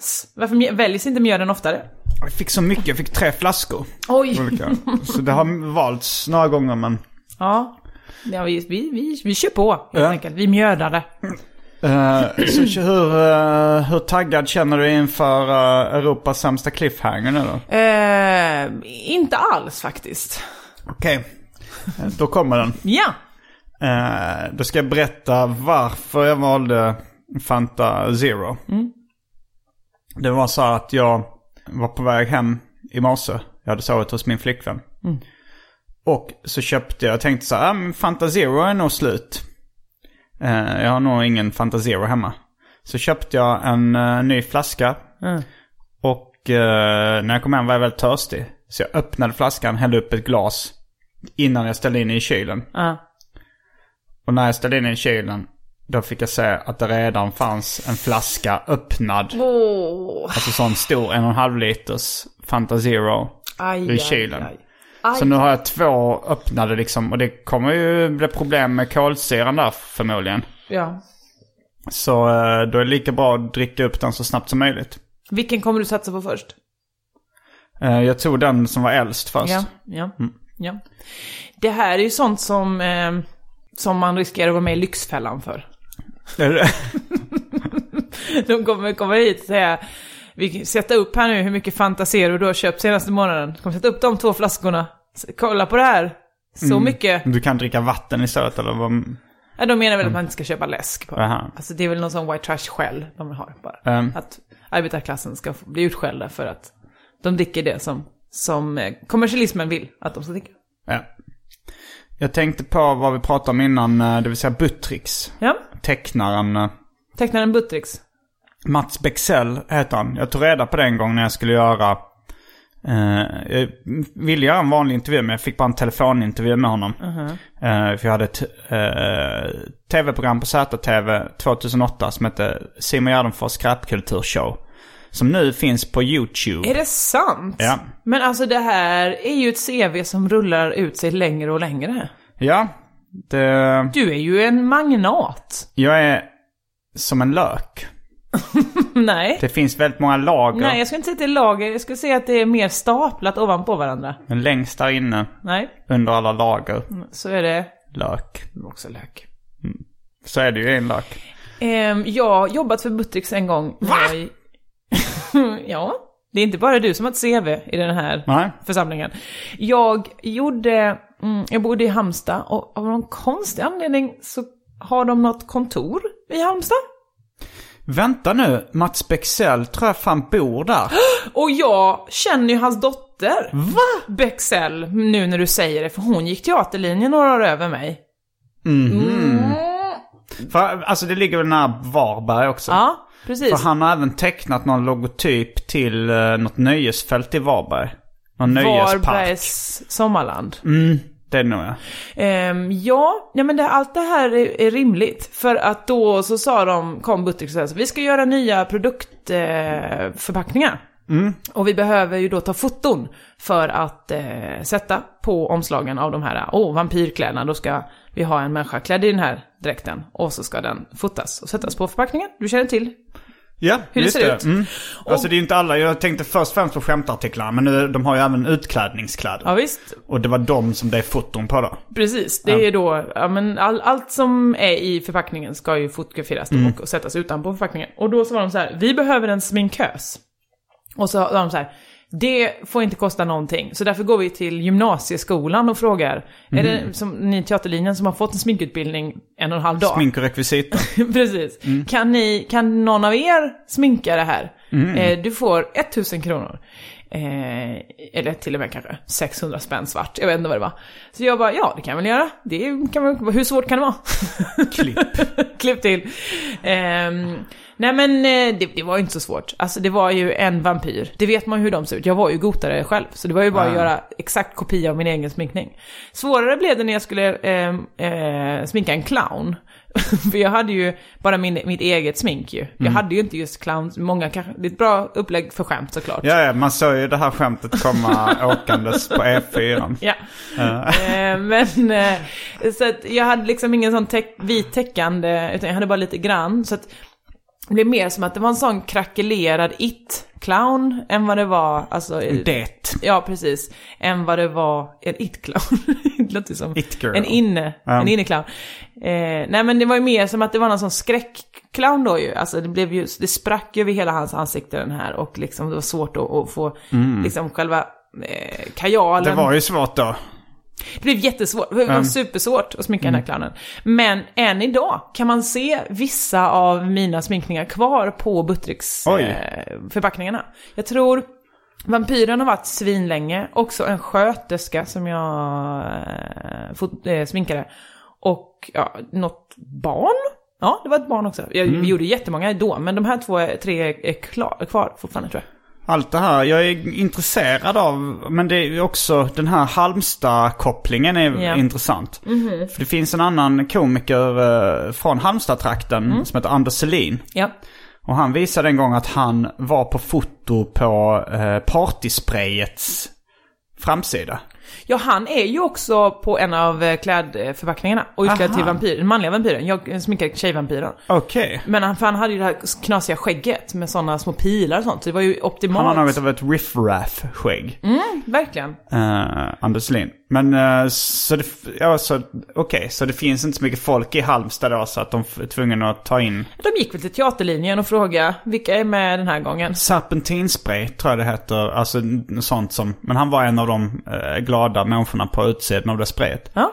Speaker 2: s- Varför mj- väljs inte mjöden oftare?
Speaker 1: Jag fick så mycket, jag fick tre flaskor.
Speaker 2: Oj.
Speaker 1: Olika. Så det har valts några gånger men...
Speaker 2: Ja, ja vi, vi, vi, vi kör på helt enkelt. Vi mjödare.
Speaker 1: Eh, så hur, eh, hur taggad känner du inför eh, Europas sämsta cliffhanger nu då?
Speaker 2: Eh, inte alls faktiskt.
Speaker 1: Okej, Eh, då kommer den.
Speaker 2: Ja,
Speaker 1: Eh, då ska jag berätta varför jag valde Fanta Zero. Det var så här att jag var på väg hem i morse. Jag hade sovit hos min flickvän. Och så köpte jag, jag tänkte så här, ah, men Fanta Zero är nog slut. Eh, jag har nog ingen Fanta Zero hemma. Så köpte jag en eh, ny flaska. Och eh, när jag kom hem var jag väldigt törstig. Så jag öppnade flaskan, hällde upp ett glas. Innan jag ställde in i kylen.
Speaker 2: Ja.
Speaker 1: Och när jag ställde in i kylen, då fick jag se att det redan fanns en flaska öppnad. Alltså sån stor, en och en halv liters Fanta Zero
Speaker 2: Aj,
Speaker 1: i
Speaker 2: aj,
Speaker 1: kylen.
Speaker 2: aj.
Speaker 1: Så nu har jag två öppnade liksom. Och det kommer ju bli problem med kolsyran där förmodligen.
Speaker 2: ja.
Speaker 1: Så eh, då är det lika bra att dricka upp den så snabbt som möjligt.
Speaker 2: Vilken kommer du satsa på först?
Speaker 1: Eh, Jag tog den som var äldst först.
Speaker 2: Ja, ja,
Speaker 1: Mm.
Speaker 2: ja. Det här är ju sånt som, eh, som man riskerar att vara med i Lyxfällan för. De kommer komma hit och säga vi kan sätta upp här nu hur mycket fantaserar du har köpt senaste månaden. Kom sätta upp de två flaskorna. S- Kolla på det här. Så
Speaker 1: Mm.
Speaker 2: mycket.
Speaker 1: Du kan dricka vatten istället eller vad?
Speaker 2: Ja, de menar väl att man inte ska köpa läsk bara.
Speaker 1: Mm. Aha.
Speaker 2: Alltså det är väl någon sån white trash skäll de har bara.
Speaker 1: Ehm.
Speaker 2: Att arbetarklassen ska få- bli utskällda för att de dricker det som, som eh, kommersialismen vill att de ska dricka.
Speaker 1: Ja. Jag tänkte på vad vi pratade om innan, eh, det vill säga Buttricks.
Speaker 2: Ja,
Speaker 1: Tecknaren. eh,
Speaker 2: tecknaren Buttricks.
Speaker 1: Mats Bexell heter han. Jag tog reda på det en gång när jag skulle göra... Eh, jag ville göra en vanlig intervju men jag fick bara en telefonintervju med honom.
Speaker 2: Uh-huh.
Speaker 1: Eh, för jag hade ett eh, tv-program på ZTV 2008 som hette Simon Gärdenfors skräpkulturshow. Som nu finns på YouTube.
Speaker 2: Är det sant?
Speaker 1: Ja.
Speaker 2: Men alltså det här är ju ett CV som rullar ut sig längre och längre.
Speaker 1: Ja. Det,
Speaker 2: Du är ju en magnat.
Speaker 1: jag är som en lök.
Speaker 2: Nej.
Speaker 1: Det finns väldigt många lager.
Speaker 2: Nej, jag skulle inte säga att det är lager. Jag skulle säga att det är mer staplat ovanpå varandra.
Speaker 1: Men längst där inne,
Speaker 2: Nej,
Speaker 1: under alla lager,
Speaker 2: så är det
Speaker 1: lök. Mm.
Speaker 2: också lök.
Speaker 1: Så är det ju en lök.
Speaker 2: Ehm, jag har jobbat för Buttricks en gång. Va? Jag... ja, det är inte bara du som har ett CV i den här
Speaker 1: Nej.
Speaker 2: församlingen. Jag gjorde, mm, jag bodde i Halmstad och av någon konstig anledning så har de något kontor i Halmstad.
Speaker 1: Vänta nu, Mats Bexell tror jag fan bor där.
Speaker 2: Och jag känner ju hans dotter. Va? Bexell, nu när du säger det, för hon gick teaterlinjen några år över mig.
Speaker 1: För, alltså det ligger väl nära Varberg också.
Speaker 2: Ja, precis.
Speaker 1: För han har även tecknat någon logotyp till uh, något nöjesfält i Varberg. Någon nöjespark.
Speaker 2: Varbergs sommarland.
Speaker 1: Det är nog jag.
Speaker 2: Ehm, ja, nej men det, allt det här är, är rimligt. För att då så sa de, kom Buttrick och sa så här, vi ska göra nya produktförpackningar. Eh, förpackningar. Och vi behöver ju då ta foton för att eh, sätta på omslagen av de här, åh, oh, vampyrkläderna, då ska vi ha en människa klädd i den här dräkten. Och så ska den fotas och sättas på förpackningen. Du känner till
Speaker 1: Ja,
Speaker 2: hur det
Speaker 1: just
Speaker 2: ser ut.
Speaker 1: Mm. Alltså det är ju inte alla. Jag tänkte först och främst på skämtartiklarna. Men nu, de har ju även utklädningskläder.
Speaker 2: Ja, visst,
Speaker 1: Och det var de som det är foton på då.
Speaker 2: Precis, det är då, ja, men all, allt som är i förpackningen ska ju fotograferas då och, och sättas utanpå förpackningen. Och då så var de så här, vi behöver en sminkös. Och så sa de så här, det får inte kosta någonting. Så därför går vi till gymnasieskolan och frågar, är det som, ni i teaterlinjen som har fått en sminkutbildning en och en halv dag?
Speaker 1: Smink och rekvisita.
Speaker 2: Precis. Kan, ni, kan någon av er sminka det här? Eh, du får 1000 kronor. Eh, eller till och med kanske 600 spänn svart. Jag vet inte vad det var. Så jag bara, ja det kan jag väl göra. Det kan väl, hur svårt kan det vara? Klipp. Klipp till. Ehm, nej men eh, det, det var ju inte så svårt. Alltså det var ju en vampyr. Det vet man ju hur de ser ut. Jag var ju gotare själv. Så det var ju bara att göra exakt kopia av min egen sminkning. Svårare blev det när jag skulle ehm, eh, sminka en clown. För jag hade ju bara min, mitt eget smink ju. Jag
Speaker 1: Mm.
Speaker 2: hade ju inte just clowns, många kanske, det är ett bra upplägg för skämt såklart.
Speaker 1: Ja, ja, man såg ju det här skämtet komma åkandes på E E4.
Speaker 2: Ja. Eh, men eh, så att jag hade liksom ingen sån täck, vit täckande, utan jag hade bara lite grann. Så att det blev mer som att det var en sån krackelerad it-clown än vad det var, alltså... eh,
Speaker 1: Det.
Speaker 2: Ja, precis. Än vad det var en it-clown. det låter som
Speaker 1: It-girl.
Speaker 2: en inne, en inne-clown. Eh, nej men det var ju mer som att det var någon sån skräckclown då ju. Alltså det blev ju, det sprack ju över hela hans ansikte den här och liksom det var svårt att, att få liksom själva eh, kajalen.
Speaker 1: Mm. Det var ju svårt då.
Speaker 2: Det blev jättesvårt, det var supersvårt att sminka den här clownen. Men än idag kan man se vissa av mina sminkningar kvar på Buttricks
Speaker 1: Oj.
Speaker 2: eh, förpackningarna. Jag tror Vampyren har varit svinlänge, också en sköterska som jag eh, fot, eh, sminkade. Och ja, något barn? Ja, det var ett barn också. Jag gjorde jättemånga då, men de här två, är- tre är klar, kvar fortfarande tror jag.
Speaker 1: Allt det här, jag är intresserad av, men det är ju också den här Halmstad-kopplingen är
Speaker 2: Ja.
Speaker 1: intressant. För det finns en annan komiker eh, från Halmstad-trakten som heter Anders Selin.
Speaker 2: Ja,
Speaker 1: Och han visade en gång att han var på foto på eh, Partysprayets framsida.
Speaker 2: Ja, han är ju också på en av eh, klädförpackningarna och utklädd till vampyr, den manliga vampyren. Jag sminkade tjejvampyren.
Speaker 1: Okej.
Speaker 2: Men han, för han hade ju det här knasiga skägget med sådana små pilar och sånt. Så det var ju
Speaker 1: Han
Speaker 2: optimalt.
Speaker 1: har något av ett riff-raff-skägg.
Speaker 2: Verkligen.
Speaker 1: Eh, Anders Lind. Men eh, så det, f- ja, så, okej, så det finns inte så mycket folk i Halmstad då så att de f- är tvungna att ta in
Speaker 2: De gick väl till teaterlinjen och frågade vilka är med den här gången.
Speaker 1: serpentinspray tror jag det heter. Alltså n- sånt som, men han var en av de eh, glada människorna på utsidan av det sprayet.
Speaker 2: Ja.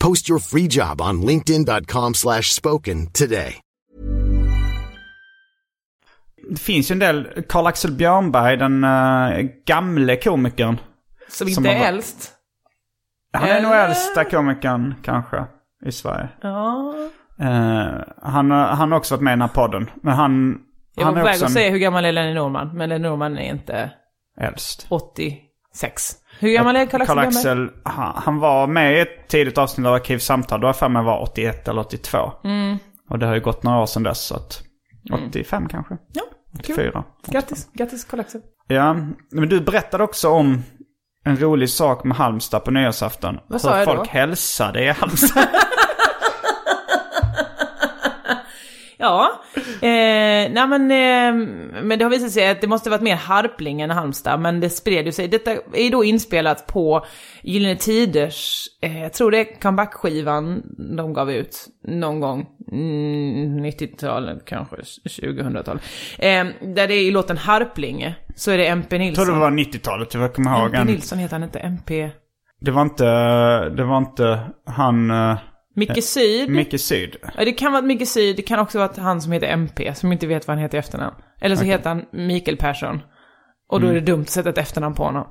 Speaker 3: Post your free job on linkedin.com/spoken slash spoken today.
Speaker 1: Det finns ju en del, Karl-Axel Björnberg, den eh, gamle komikern.
Speaker 2: Som
Speaker 1: Som
Speaker 2: inte
Speaker 1: man
Speaker 2: är
Speaker 1: bara-
Speaker 2: äldst.
Speaker 1: Han är nog
Speaker 2: Eller?
Speaker 1: äldsta komikern kanske i Sverige.
Speaker 2: Ja.
Speaker 1: Eh, han, har- han har också varit med i den här podden. Men han,
Speaker 2: Jag var
Speaker 1: han
Speaker 2: på
Speaker 1: är
Speaker 2: väg
Speaker 1: också
Speaker 2: att
Speaker 1: en
Speaker 2: säga hur gammal är Lenny Norman, men Lenny Norman är inte
Speaker 1: äldst.
Speaker 2: 86. Hur gammal är Karl-Axel Björnberg?
Speaker 1: Karl-Axel, han, han var med i ett tidigt avsnitt av Arkivsamtal. Då har jag för mig var 81 eller 82.
Speaker 2: Mm.
Speaker 1: Och det har ju gått några år sedan dess. Så att 85 kanske?
Speaker 2: Ja, kul.
Speaker 1: 84.
Speaker 2: Grattis, grattis Karl-Axel.
Speaker 1: Ja, men du berättade också om en rolig sak med Halmstad på nyårsafton. Vad
Speaker 2: sa
Speaker 1: Hur
Speaker 2: jag då?
Speaker 1: folk hälsade i Halmstad.
Speaker 2: Ja, eh, nej men, eh, men det har visat sig att det måste varit mer Harpling än Halmstad, men det spred ju sig. Detta är då inspelat på Gyllene Tiders, eh, jag tror det är comeback-skivan de gav ut någon gång, mm, 90-talet kanske, 2000-talet. Eh, där det är i låten Harplinge, så är det MP
Speaker 1: Jag
Speaker 2: Nilsson.
Speaker 1: tror det var 90-talet, jag kommer ihåg.
Speaker 2: MP
Speaker 1: en-
Speaker 2: Nilsson heter han inte, MP...
Speaker 1: Det var inte, det var inte han, eh,
Speaker 2: Micke Syd.
Speaker 1: Micke Syd.
Speaker 2: Ja, det kan vara Micke Syd, det kan också vara att han som heter MP, som inte vet vad han heter i efternamn. Eller så heter han Mikael Persson. Och då
Speaker 1: Mm.
Speaker 2: är det dumt att sätta ett efternamn på honom.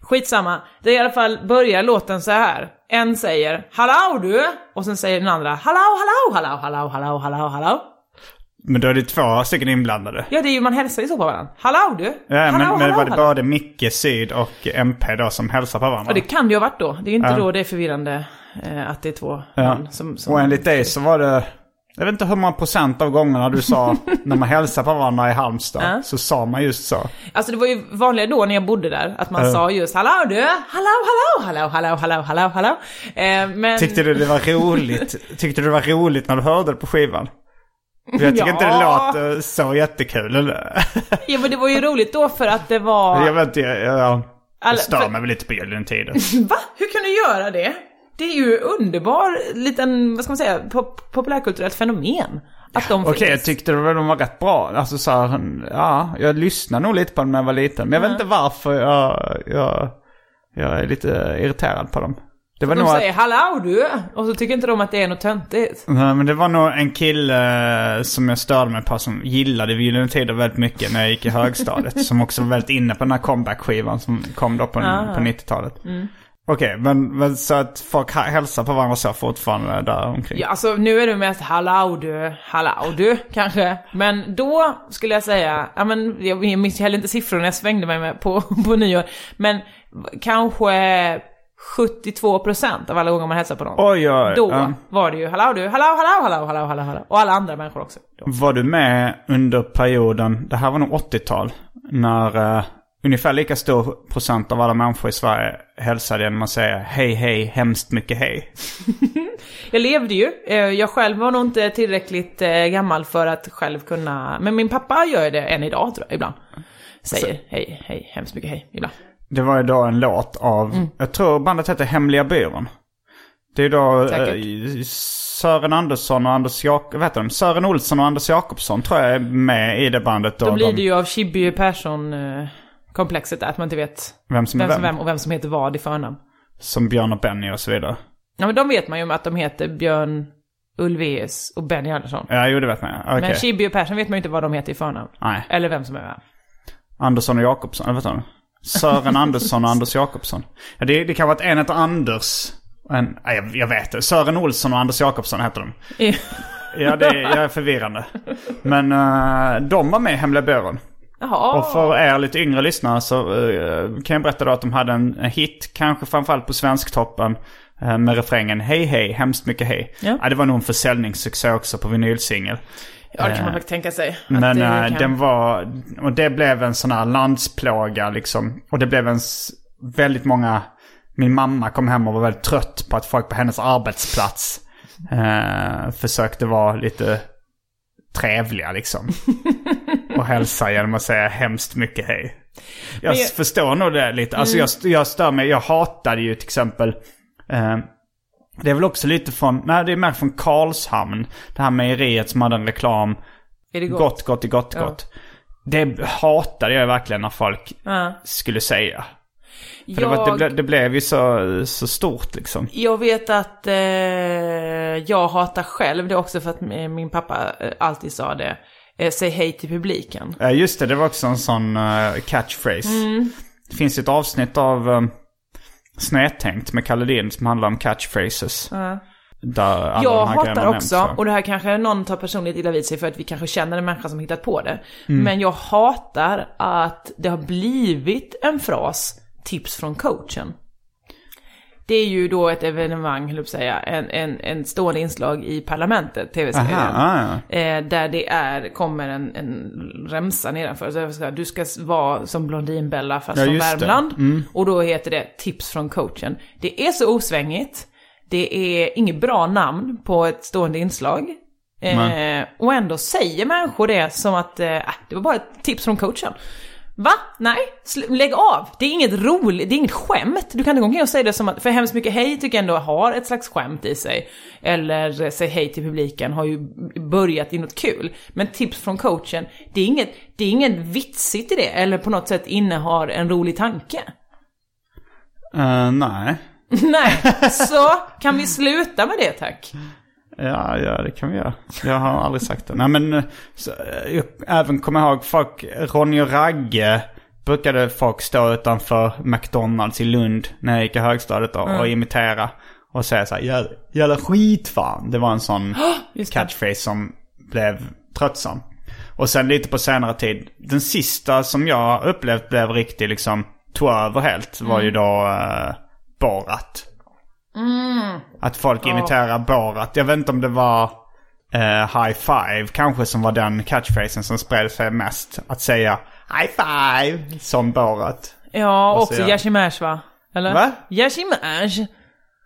Speaker 2: Skitsamma, det är i alla fall börjar låten så här. En säger “Hallå du!” och sen säger den andra “Hallå, hallå, hallå, hallå, hallå, hallå, hallå”.
Speaker 1: Men då är det två stycken inblandade.
Speaker 2: Ja, det är ju, man hälsar ju så på varandra. “Hallå du!”
Speaker 1: Ja,
Speaker 2: hallå,
Speaker 1: men, men det
Speaker 2: hallå,
Speaker 1: var det
Speaker 2: hallå."
Speaker 1: både Micke Syd och MP då som hälsar på varandra.
Speaker 2: Och det kan det ju ha varit då. Det är ju inte då det är förvirrande eh, att det är två namn som... som
Speaker 1: Och enligt dig så var det... Jag vet inte hur många procent av gångerna du sa när man hälsar på varandra i Halmstad så sa man just så.
Speaker 2: Alltså det var ju vanligare då när jag bodde där, att man sa just “Hallå du! Hallå, hallå, hallå, hallå, hallå, hallå, hallå”. Eh, men...
Speaker 1: Tyckte du det var roligt? Tyckte du det var roligt när du hörde det på skivan? För Jag tycker
Speaker 2: Ja.
Speaker 1: inte det låter så jättekul. Eller?
Speaker 2: Ja men det var ju roligt då för att det var...
Speaker 1: Jag vet inte, jag, jag, jag
Speaker 2: Alla-
Speaker 1: stör
Speaker 2: för-
Speaker 1: mig väl lite på Gyllene Tider.
Speaker 2: Va? Hur kan du göra det? Det är ju underbar liten, vad ska man säga, pop- populärkulturellt fenomen. Att de
Speaker 1: Okej, jag
Speaker 2: finns.
Speaker 1: tyckte det var- de var rätt bra. Alltså så här, ja, jag lyssnade nog lite på dem när jag var liten. Men jag vet inte varför jag, jag, jag är lite irriterad på dem. Det var
Speaker 2: De
Speaker 1: nog att-
Speaker 2: säger “Hallå du!” och så tycker inte de att det är något töntigt.
Speaker 1: Nej, men det var nog en kille eh, som jag störde mig på som gillade Gyllene Tider väldigt mycket när jag gick i högstadiet. som också var väldigt inne på den här comeback-skivan som kom då på,
Speaker 2: Ah.
Speaker 1: på 90-talet.
Speaker 2: Mm.
Speaker 1: Okej, men, men så att folk ha- hälsar på varandra så fortfarande där omkring.
Speaker 2: Ja, alltså nu är det mest “Hallå du!” “Hallå du!” kanske. Men då skulle jag säga, ja men jag jag minns heller inte siffrorna jag svängde mig med på, på nyår. Men kanske 72% av alla gånger man hälsar på någon.
Speaker 1: Oj, oj,
Speaker 2: Då
Speaker 1: ja.
Speaker 2: var det ju “Hallå du!” “Hallå, hallå, hallå, hallå, hallå, hallå!” Och alla andra människor också. Då.
Speaker 1: Var du med under perioden, det här var nog 80-tal, när eh, ungefär lika stor procent av alla människor i Sverige hälsade genom att säga hej hej hemskt mycket hej.
Speaker 2: Jag levde ju. Eh, Jag själv var nog inte tillräckligt eh, gammal för att själv kunna... Men min pappa gör det än idag tror jag, ibland. Säger hej, hej, hemskt mycket hej, ibland.
Speaker 1: Det var ju då en låt av,
Speaker 2: Mm.
Speaker 1: jag tror bandet hette Hemliga Byrån. Det är då
Speaker 2: Säkert.
Speaker 1: eh, Sören Andersson och Anders Jakob, vet du, Sören Olsson och Anders Jakobsson tror jag är med i det bandet. Då,
Speaker 2: Då blir
Speaker 1: de-
Speaker 2: det ju av Chibi Persson-komplexet där, att man inte vet
Speaker 1: Vem som är
Speaker 2: vem
Speaker 1: vem.
Speaker 2: som vem och vem som heter vad i förnamn.
Speaker 1: Som Björn och Benny och så vidare.
Speaker 2: Ja men de vet man ju att de heter Björn Ulvaeus och Benny Andersson.
Speaker 1: Ja, jo det vet man okay.
Speaker 2: Men Chibi Persson vet man ju inte vad de heter i förnamn.
Speaker 1: Nej.
Speaker 2: Eller vem som är vem.
Speaker 1: Andersson och Jakobsson, eller vad heter han? Sören Andersson och Anders Jakobsson. Ja, det, det kan vara att en heter Anders. och En, nej, jag, jag vet det. Sören Olsson och Anders Jakobsson heter de. Ja, det är, jag är förvirrande. Men eh, de var med i Hemliga Byrån.
Speaker 2: Jaha.
Speaker 1: Och för er lite yngre lyssnare så eh, kan jag berätta då att de hade en, en hit, kanske framförallt på Svensktoppen, eh, med refrängen Hej hej, hemskt mycket hej.
Speaker 2: Ja.
Speaker 1: det var nog en försäljningssuccé också på vinylsingel.
Speaker 2: Ja det kan man faktiskt tänka sig. att
Speaker 1: eh, Men
Speaker 2: det
Speaker 1: eh,
Speaker 2: kan-
Speaker 1: den var, och det blev en sån här landsplåga liksom. Och det blev en s- väldigt många, min mamma kom hem och var väldigt trött på att folk på hennes arbetsplats eh, försökte vara lite trevliga liksom. och hälsa genom att säga hemskt mycket hej. Jag,
Speaker 2: jag- Mm.
Speaker 1: förstår nog det lite. Alltså jag, jag stör mig, jag hatade ju till exempel eh, det är väl också lite från, nej det är mer från Karlshamn. Det här mejeriet som hade en reklam
Speaker 2: Är det gott?
Speaker 1: gott, gott, i gott, gott. Det hatade jag verkligen när folk skulle säga. För det, var, det,
Speaker 2: Jag-
Speaker 1: ble, det blev ju så, så stort liksom.
Speaker 2: Jag vet att eh, jag hatar själv det också för att eh, min pappa eh, alltid sa det. Eh, säg hej till publiken.
Speaker 1: Eh, Just det, det var också en sån eh, catchphrase.
Speaker 2: Mm.
Speaker 1: Det finns ju ett avsnitt av um, Snedtänkt med Kalle Lind som handlar om catchphrases. Där alla de
Speaker 2: jag
Speaker 1: här grejerna
Speaker 2: hatar
Speaker 1: nämns,
Speaker 2: också,
Speaker 1: va?
Speaker 2: och det här kanske någon tar personligt illa vid sig för att vi kanske känner en människa som hittat på det.
Speaker 1: Mm.
Speaker 2: Men jag hatar att det har blivit en fras, tips från coachen. Det är ju då ett evenemang, höll jag på att säga, en, en, en stående inslag i parlamentet, tv-serien.
Speaker 1: Aha, ah,
Speaker 2: Eh, där det är, kommer en, en remsa nedanför. Så jag ska, du ska s- vara som Blondinbella fast
Speaker 1: Ja,
Speaker 2: från
Speaker 1: just det. Mm.
Speaker 2: Värmland. Och då heter det Tips från coachen. Det är så osvängigt. Det är inget bra namn på ett stående inslag. Eh, och ändå säger människor det som att eh, ah, det var bara ett tips från coachen. Va? Nej, sl- lägg av! Det är inget roligt, det är inget skämt. Du kan inte gå omkring och säga det som att, för hemskt mycket hej tycker jag ändå har ett slags skämt i sig. Eller eh, säg hej till publiken har ju börjat i något kul. Men tips från coachen, det är inget, det är inget vitsigt i det. Eller på något sätt innehar en rolig tanke.
Speaker 1: Eh, nej.
Speaker 2: Nej, så kan vi sluta med det tack.
Speaker 1: Ja, ja, det kan vi göra. Jag har aldrig sagt det. Nej, men eh, så, eh, jag även kommer jag ihåg folk, Ronny och Ragge brukade folk stå utanför McDonalds i Lund när jag gick i högstadiet då, och imitera. Och säga så här, "Jä- jävla skit fan. Det var en sån
Speaker 2: just det.
Speaker 1: catchphrase som blev tröttsam. Och sen lite på senare tid, den sista som jag upplevt blev riktigt liksom, tog över helt, var ju
Speaker 2: Mm.
Speaker 1: då eh, Borat.
Speaker 2: Mm.
Speaker 1: Att folk imiterar Borat. Jag vet inte om det var eh, high five kanske som var den catchphrasen som spred sig mest. Att säga high five som Borat.
Speaker 2: Ja, också
Speaker 1: säger jag?
Speaker 2: Yashimash va? Eller?
Speaker 1: Va?
Speaker 2: Yashimash.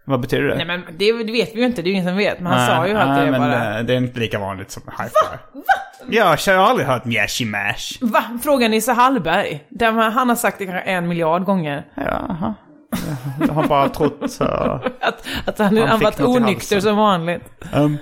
Speaker 1: Vad betyder det?
Speaker 2: Nej men det, det vet vi ju inte, det är ju ingen som vet. Men han
Speaker 1: Nej,
Speaker 2: sa ju att
Speaker 1: nej,
Speaker 2: det är
Speaker 1: men,
Speaker 2: bara...
Speaker 1: eh, Det är inte lika vanligt som high five. Va? Ja, jag har aldrig hört mjäshi mash.
Speaker 2: Va? Fråga Nisse Hallberg. Där man, han har sagt det kanske en miljard gånger.
Speaker 1: Jaha. Jag har bara trott eh, så.
Speaker 2: Att, att han, han,
Speaker 1: fick
Speaker 2: varit
Speaker 1: något i
Speaker 2: onykter
Speaker 1: halsen.
Speaker 2: som vanligt.
Speaker 1: Um.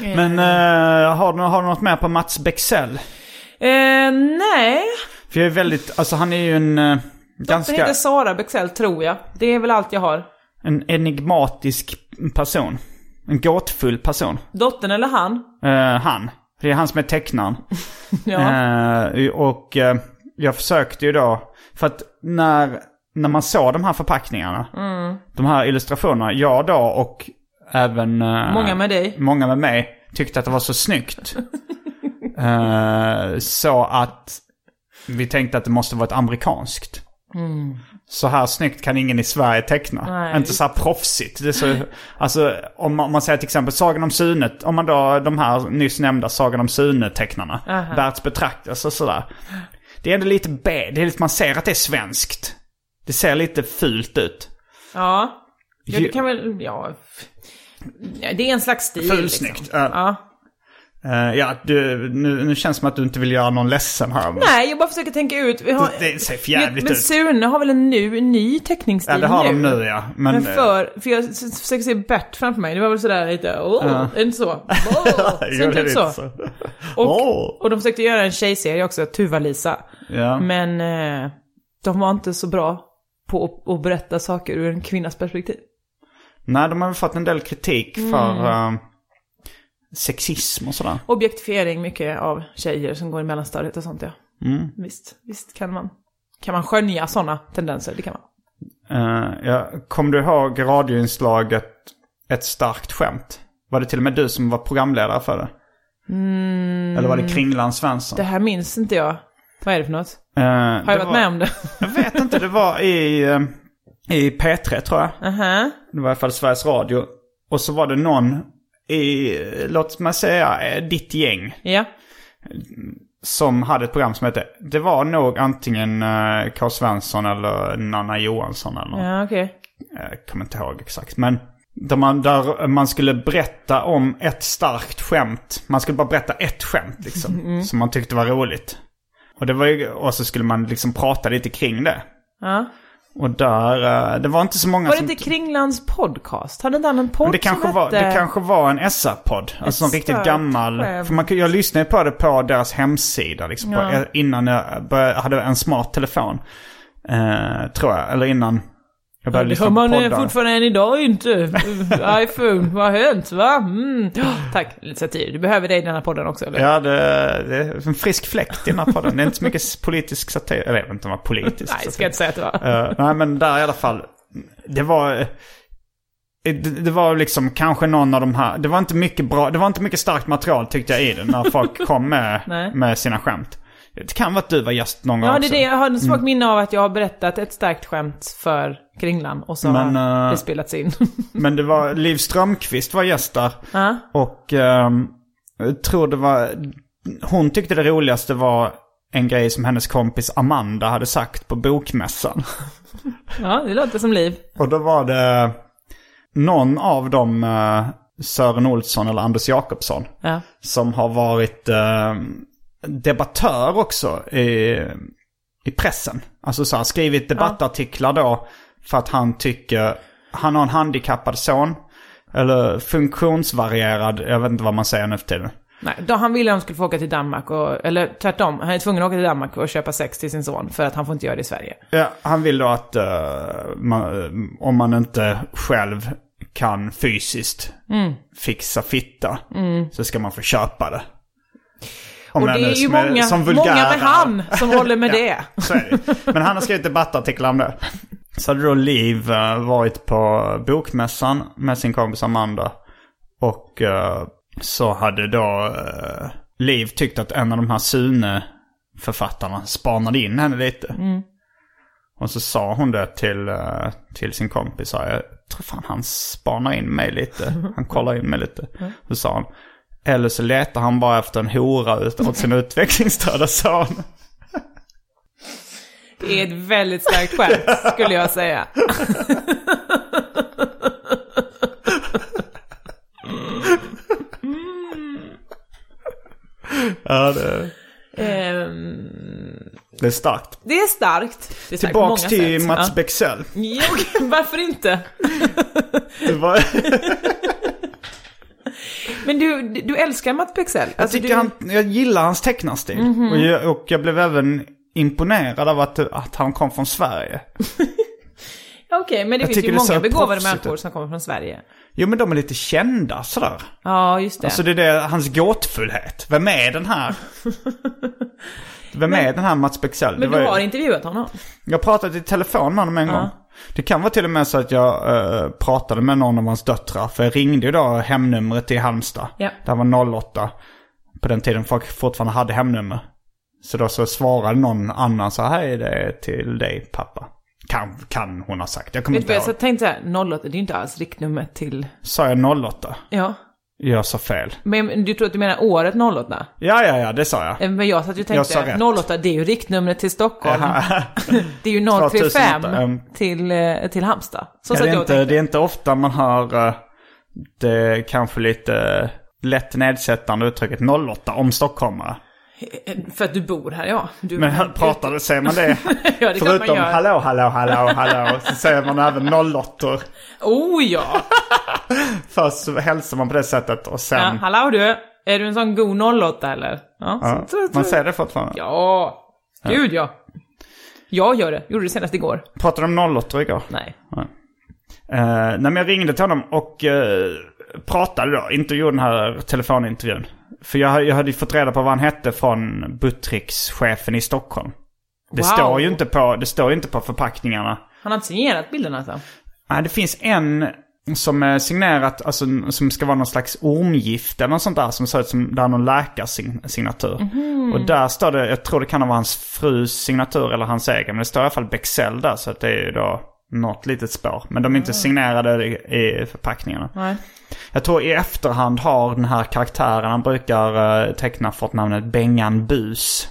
Speaker 1: Men eh, har, du, har du något mer på Mats Bexell?
Speaker 2: Eh, nej,
Speaker 1: För jag är väldigt, alltså han är ju en eh,
Speaker 2: den
Speaker 1: ganska
Speaker 2: heter Sara Bexell tror jag. Det är väl allt jag har.
Speaker 1: en enigmatisk person. En gåtfull person.
Speaker 2: Dottern eller han?
Speaker 1: Eh, han. Det är han som är tecknaren.
Speaker 2: Ja.
Speaker 1: Eh, och eh, jag försökte ju då, för att när, när man såg de här förpackningarna, de här illustrationerna, jag då och även... eh,
Speaker 2: Många med dig.
Speaker 1: Många med mig tyckte att det var så snyggt. Eh, så att vi tänkte att det måste vara ett amerikanskt. Så här snyggt kan ingen i Sverige teckna.
Speaker 2: Mm. Nej.
Speaker 1: Inte så här proffsigt. Det är så, alltså, om, man, om man säger till exempel Sagan om Sune, om man då de här nyss nämnda Sagan om Sune-tecknarna, världsbetraktas och sådär. Det är ändå lite B, det är lite, man ser att det är svenskt. Det ser lite fult ut.
Speaker 2: Ja. ja, det kan väl... Ja. Ja, Det är en slags stil
Speaker 1: Fulsnyggt.
Speaker 2: Liksom.
Speaker 1: Ja.
Speaker 2: Ja.
Speaker 1: Eh, ja, du, nu, nu känns det som att du inte vill göra någon ledsen här. men-
Speaker 2: Nej, jag bara försöker tänka ut. Vi har,
Speaker 1: Det- det ser för jävligt
Speaker 2: men
Speaker 1: ut.
Speaker 2: Sune har väl en nu, ny teckningsstil
Speaker 1: Ja, det har de nu ja. Men, eh,
Speaker 2: Men för, för jag s- s- försöker se Bert framför mig, det var väl sådär lite, åh, är det inte så? Åh,
Speaker 1: Jo,
Speaker 2: ser
Speaker 1: det
Speaker 2: inte
Speaker 1: är
Speaker 2: ut
Speaker 1: lite
Speaker 2: så.
Speaker 1: så. Åh.
Speaker 2: Och, och de försökte göra en tjejserie också, Tuva-Lisa.
Speaker 1: Ja.
Speaker 2: Men eh, de var inte så bra på att, att berätta saker ur en kvinnas perspektiv.
Speaker 1: Nej, de har väl fått en del kritik
Speaker 2: Mm.
Speaker 1: för eh, sexism och sådär.
Speaker 2: Objektifiering mycket av tjejer som går i mellanstadiet och sånt ja.
Speaker 1: Mm.
Speaker 2: Visst, visst kan man. Kan man skönja sådana tendenser? Det kan man.
Speaker 1: Eh, ja, kom du ihåg radioinslaget Ett starkt skämt? Var det till och med du som var programledare för det?
Speaker 2: Mm.
Speaker 1: Eller var det Kringland Svensson?
Speaker 2: Det här minns inte jag. Vad är det för något?
Speaker 1: Eh,
Speaker 2: Har jag
Speaker 1: det
Speaker 2: varit
Speaker 1: var,
Speaker 2: med om det?
Speaker 1: Jag vet inte, det var i, eh, i P3 tror jag.
Speaker 2: Aha.
Speaker 1: Det var i alla fall Sveriges Radio. Och så var det någon i, eh, låt mig säga, eh, ditt gäng.
Speaker 2: Ja.
Speaker 1: Som hade ett program som hette, det var nog antingen eh, K. Svensson eller Nanna Johansson eller något.
Speaker 2: Ja, okej.
Speaker 1: Alltså, jag kommer inte ihåg exakt, men där man, där man skulle berätta om ett starkt skämt. Man skulle bara berätta ett skämt liksom,
Speaker 2: Mm.
Speaker 1: som man tyckte var roligt. Och, det var ju, och så skulle man liksom prata lite kring det.
Speaker 2: Ja.
Speaker 1: Och där, eh, det var inte så många
Speaker 2: Var det
Speaker 1: som...
Speaker 2: inte Kringlands podcast? Hade inte han en
Speaker 1: Men
Speaker 2: podd
Speaker 1: det kanske,
Speaker 2: som
Speaker 1: var,
Speaker 2: hette...
Speaker 1: det kanske var en SR-podd. Alltså en riktigt
Speaker 2: starkt
Speaker 1: gammal.
Speaker 2: skämt.
Speaker 1: För man, kan- jag lyssnade på det på deras hemsida. Liksom,
Speaker 2: Ja.
Speaker 1: på, innan jag började, hade en smart telefon. Eh, tror jag. Eller innan jag började
Speaker 2: Det
Speaker 1: lyssna
Speaker 2: hör
Speaker 1: på
Speaker 2: man
Speaker 1: liksom poddar.
Speaker 2: eh, fortfarande än idag inte. iPhone, vad har hänt va? Mm. Tack, lite satir. Du behöver dig i den här podden också eller?
Speaker 1: Ja, det, det är en frisk fläkt i den här podden. Det är inte så mycket politisk satir. Eller jag vet inte om det var politisk
Speaker 2: Nej, ska
Speaker 1: satir.
Speaker 2: jag inte säga att det var.
Speaker 1: Eh, nej, men där i alla fall. Det var... eh, Det, det var liksom kanske någon av de här... Det var inte mycket bra... Det var inte mycket starkt material tyckte jag i den när folk kom med,
Speaker 2: Nej.
Speaker 1: med sina skämt. Det kan vara att du var gäst någon gång
Speaker 2: Ja, det är
Speaker 1: också. Mm.
Speaker 2: det. Jag har en svagt minne av att jag har berättat ett starkt skämt för Kringlan och så
Speaker 1: Men,
Speaker 2: har
Speaker 1: eh,
Speaker 2: det spelats in.
Speaker 1: Men det var... Liv Strömquist var gäst där.
Speaker 2: Ja.
Speaker 1: Och ehm, jag tror det var... Hon tyckte det roligaste var en grej som hennes kompis Amanda hade sagt på bokmässan.
Speaker 2: ja, det låter som liv.
Speaker 1: Och då var det någon av de eh, Sören Olsson eller Anders Jakobsson.
Speaker 2: Ja.
Speaker 1: Som har varit eh, debattör också i, i pressen. Alltså så här, skrivit debattartiklar då för att han tycker, han har en handikappad son. Eller funktionsvarierad, jag vet inte vad man säger nu för tiden.
Speaker 2: Nej, då han ville att de skulle få åka till Danmark och, eller tvärtom, han är tvungen att åka till Danmark och köpa sex till sin son för att han får inte göra det i Sverige.
Speaker 1: Ja, han vill då att eh, man, om man inte själv kan fysiskt
Speaker 2: Mm.
Speaker 1: fixa fitta så ska man få köpa det. Om
Speaker 2: Och
Speaker 1: jag
Speaker 2: det
Speaker 1: nu
Speaker 2: är ju
Speaker 1: som är-
Speaker 2: många,
Speaker 1: som
Speaker 2: många
Speaker 1: vulgär
Speaker 2: med
Speaker 1: här.
Speaker 2: han som håller med det.
Speaker 1: Så är det. ju. Men han har skrivit debattartiklar om det. Så hade då Liv eh, varit på bokmässan med sin kompis Amanda. Och eh, så hade då eh, Liv tyckt att en av de här Sune-författarna spanade in henne lite. Och så sa hon det till, eh, till sin kompis. sa, Jag tror fan han spanar in mig lite. Han kollar in mig lite. Så sa hon. Eller så letar han bara efter en hora ut- åt sin utvecklingsstörda son.
Speaker 2: Det är ett väldigt starkt skämt, skulle jag säga.
Speaker 1: Ja, det...
Speaker 2: Ehm,
Speaker 1: Det är starkt.
Speaker 2: det är starkt. Det är starkt på många
Speaker 1: Tillbaks till
Speaker 2: sätt.
Speaker 1: Mats
Speaker 2: Ja.
Speaker 1: Bexell.
Speaker 2: Jo, varför inte?
Speaker 1: Det var,
Speaker 2: Alltså, Men du, du älskar Mats Bexell?
Speaker 1: jag, tycker
Speaker 2: du, Mhm.
Speaker 1: han, jag gillar hans tecknarstil. och, jag, och jag blev även imponerad av att, att han kom från Sverige.
Speaker 2: Okej, men det
Speaker 1: jag
Speaker 2: finns
Speaker 1: tycker
Speaker 2: ju
Speaker 1: det ser
Speaker 2: många begåvade
Speaker 1: proffsigt
Speaker 2: människor
Speaker 1: ut.
Speaker 2: som kommer från Sverige.
Speaker 1: Jo men de är lite kända sådär.
Speaker 2: Ja, just det.
Speaker 1: Alltså det är det, hans gåtfullhet. Vem är den här? Vem är den här Mats Bexell? Det
Speaker 2: men
Speaker 1: var
Speaker 2: du
Speaker 1: ju-
Speaker 2: har intervjuat honom?
Speaker 1: Jag pratade i telefon med honom en gång. Det kan vara till och med så att jag eh, pratade med någon av hans döttrar. För jag ringde ju då hemnumret i Halmstad.
Speaker 2: Ja.
Speaker 1: Det här var 08. På den tiden folk fortfarande hade hemnummer. Så då så svarade någon annan så här, hej det är till dig pappa. Kan, kan hon ha sagt. Jag kommer
Speaker 2: Vet du
Speaker 1: inte
Speaker 2: vad, jag
Speaker 1: ihåg.
Speaker 2: så tänkte såhär, 08, det är ju inte alls riktnumret till...
Speaker 1: Sa jag 08?
Speaker 2: Ja.
Speaker 1: Jag sa fel.
Speaker 2: Men du tror att du menar året 08?
Speaker 1: Ja, ja, ja, det sa jag.
Speaker 2: Eh, Men jag satt ju och
Speaker 1: Jag sa
Speaker 2: tänkte,
Speaker 1: rätt.
Speaker 2: 08, det är ju riktnumret till Stockholm. Det är ju 035
Speaker 1: 2008, ehm.
Speaker 2: till, eh, till Halmstad. Så
Speaker 1: Ja,
Speaker 2: satt
Speaker 1: det, är
Speaker 2: jag och
Speaker 1: inte,
Speaker 2: tänkte.
Speaker 1: det är inte ofta man hör eh, det kanske lite lätt nedsättande uttrycket 08 om stockholmare.
Speaker 2: "Eh, För att du bor här, ja. Du,
Speaker 1: Men här pratar det, säger man det?
Speaker 2: ja, det kan man
Speaker 1: Förutom
Speaker 2: göra.
Speaker 1: hallå, hallå, hallå, hallå, så säger man även 08
Speaker 2: Oh ja!
Speaker 1: Först så hälsar man på det sättet och sen...
Speaker 2: ja hallå du! Är du en sån god 08 eller? Ja,
Speaker 1: ja,
Speaker 2: så- så-
Speaker 1: man säger det fortfarande.
Speaker 2: Ja, gud ja. Jag gör det. Gjorde det senast igår.
Speaker 1: Pratade om 08 igår?
Speaker 2: Nej.
Speaker 1: Eh, nej men jag ringde till honom och eh, pratade då, inte gjorde den här telefonintervjun. För jag, jag hade ju fått reda på vad han hette från Buttricks-chefen i Stockholm. Det,
Speaker 2: Wow.
Speaker 1: står ju inte på, det står ju inte på förpackningarna.
Speaker 2: Han har inte signerat bilden alltså?
Speaker 1: Nej, det finns en som är signerat, alltså som ska vara någon slags ormgift eller något sånt där som ser ut som, där är någon läkarsignatur.
Speaker 2: Mhm.
Speaker 1: Och där står det, jag tror det kan vara hans frus signatur eller hans egen, men det står i alla fall Bexell där så att det är ju då något litet spår. Men de är
Speaker 2: Mm.
Speaker 1: inte signerade i, i förpackningarna.
Speaker 2: Nej.
Speaker 1: Jag tror i efterhand har den här karaktären, han brukar eh, teckna fått namnet Bengan Bus.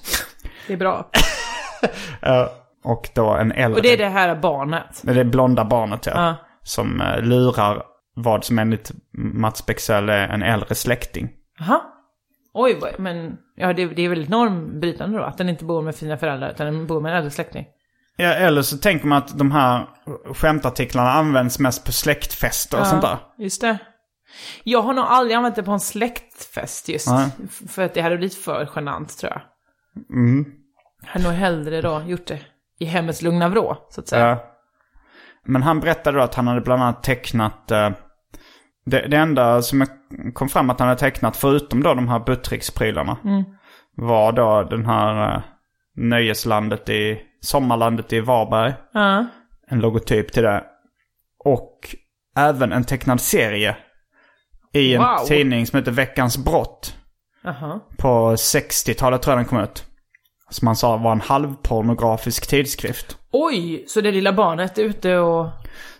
Speaker 2: Det är bra.
Speaker 1: Eh, och då en äldre...
Speaker 2: Och det är det här barnet.
Speaker 1: Det är blonda barnet ja.
Speaker 2: Ja.
Speaker 1: Som eh, lurar vad som enligt Mats Bexell är en äldre släkting.
Speaker 2: Aha. Oj, vad- men ja, det, det är väldigt normbrytande då, att den inte bor med sina föräldrar, utan den bor med en äldre släkting.
Speaker 1: Ja, eller så tänker man att de här skämtartiklarna används mest på släktfester och sånt där.
Speaker 2: Just det. Jag har nog aldrig använt det på en släktfest just,
Speaker 1: Nej.
Speaker 2: f- för att det hade blivit för genant tror jag. Mm. Jag hade nog hellre då gjort det i hemmets lugna vrå, så att säga.
Speaker 1: Ja. Men han berättade då att han hade bland annat tecknat... eh, Det, det enda som jag kom fram att han hade tecknat, förutom då de här Buttricks-prylarna,
Speaker 2: Mm.
Speaker 1: var då den här eh, nöjeslandet i... Sommarlandet i Varberg.
Speaker 2: Ja.
Speaker 1: en logotyp till det. Och även en tecknad serie i en
Speaker 2: Wow.
Speaker 1: tidning som heter Veckans Brott.
Speaker 2: Aha.
Speaker 1: På 60-talet tror jag den kom ut. Som man sa var en halvpornografisk tidskrift.
Speaker 2: Oj, så det lilla barnet är ute och...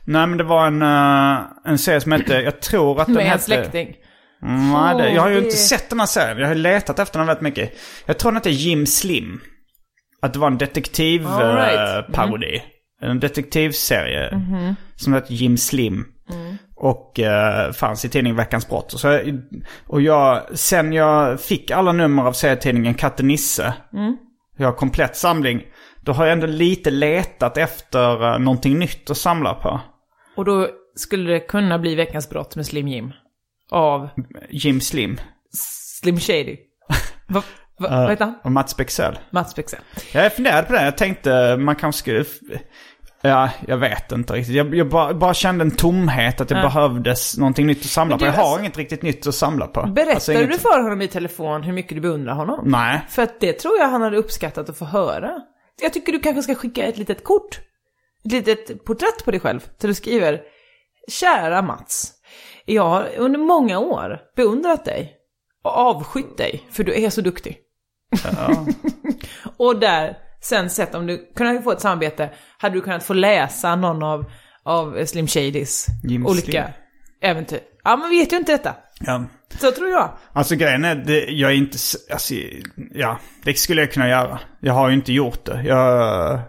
Speaker 1: Nej men det var en, eh, en serie som hette, jag tror att den
Speaker 2: Med en
Speaker 1: hette... Mm,
Speaker 2: släkting.
Speaker 1: Nej, det, jag har ju
Speaker 2: Åh,
Speaker 1: inte
Speaker 2: det-
Speaker 1: sett den här serien. Jag har letat efter den väldigt mycket. Jag tror den hette Jim Slim. Att det var en Mm-hmm.
Speaker 2: All right. Mm-hmm. Mm.
Speaker 1: detektivparodi. En detektivserie. Som hette Jim Slim. Och eh, fanns i tidningen Veckans Brott. Och, så, och jag, sen jag fick alla nummer av serietidningen Katte Nisse.
Speaker 2: Mm.
Speaker 1: Jag har komplett samling. Då har jag ändå lite letat efter eh, någonting nytt att samla på.
Speaker 2: Och då skulle det kunna bli Veckans brott med Slim Jim. Av
Speaker 1: Jim Slim.
Speaker 2: Slim Shady. Va, va, vad heter han?
Speaker 1: Och Mats Bexell.
Speaker 2: Mats Bexell.
Speaker 1: Jag funderade på det. Jag tänkte man kanske skulle... Ja, jag vet inte riktigt. Jag, jag bara, bara kände en tomhet att det behövdes någonting nytt att samla
Speaker 2: Men
Speaker 1: på.
Speaker 2: du,
Speaker 1: Jag har
Speaker 2: alltså-
Speaker 1: inget riktigt nytt att samla på.
Speaker 2: Berättade
Speaker 1: Alltså, inget-
Speaker 2: du för honom i telefon hur mycket du beundrar honom?
Speaker 1: Nej.
Speaker 2: För att det tror jag han hade uppskattat att få höra. Jag tycker du kanske ska skicka ett litet kort. Ett litet porträtt på dig själv. Där du skriver Kära Mats. Jag har under många år beundrat dig. Och avskytt dig. För du är så duktig. och där, sen sett om du kunde få ett samarbete. Hade du kunnat få läsa någon av, av Slim Shadys
Speaker 1: Jim
Speaker 2: olika
Speaker 1: Slim.
Speaker 2: äventyr. Ja men vi vet ju inte detta.
Speaker 1: Ja.
Speaker 2: Så tror jag.
Speaker 1: Alltså grejen är, det, jag är inte... s- Alltså, ja, det skulle jag kunna göra. Jag har ju inte gjort det. Jag...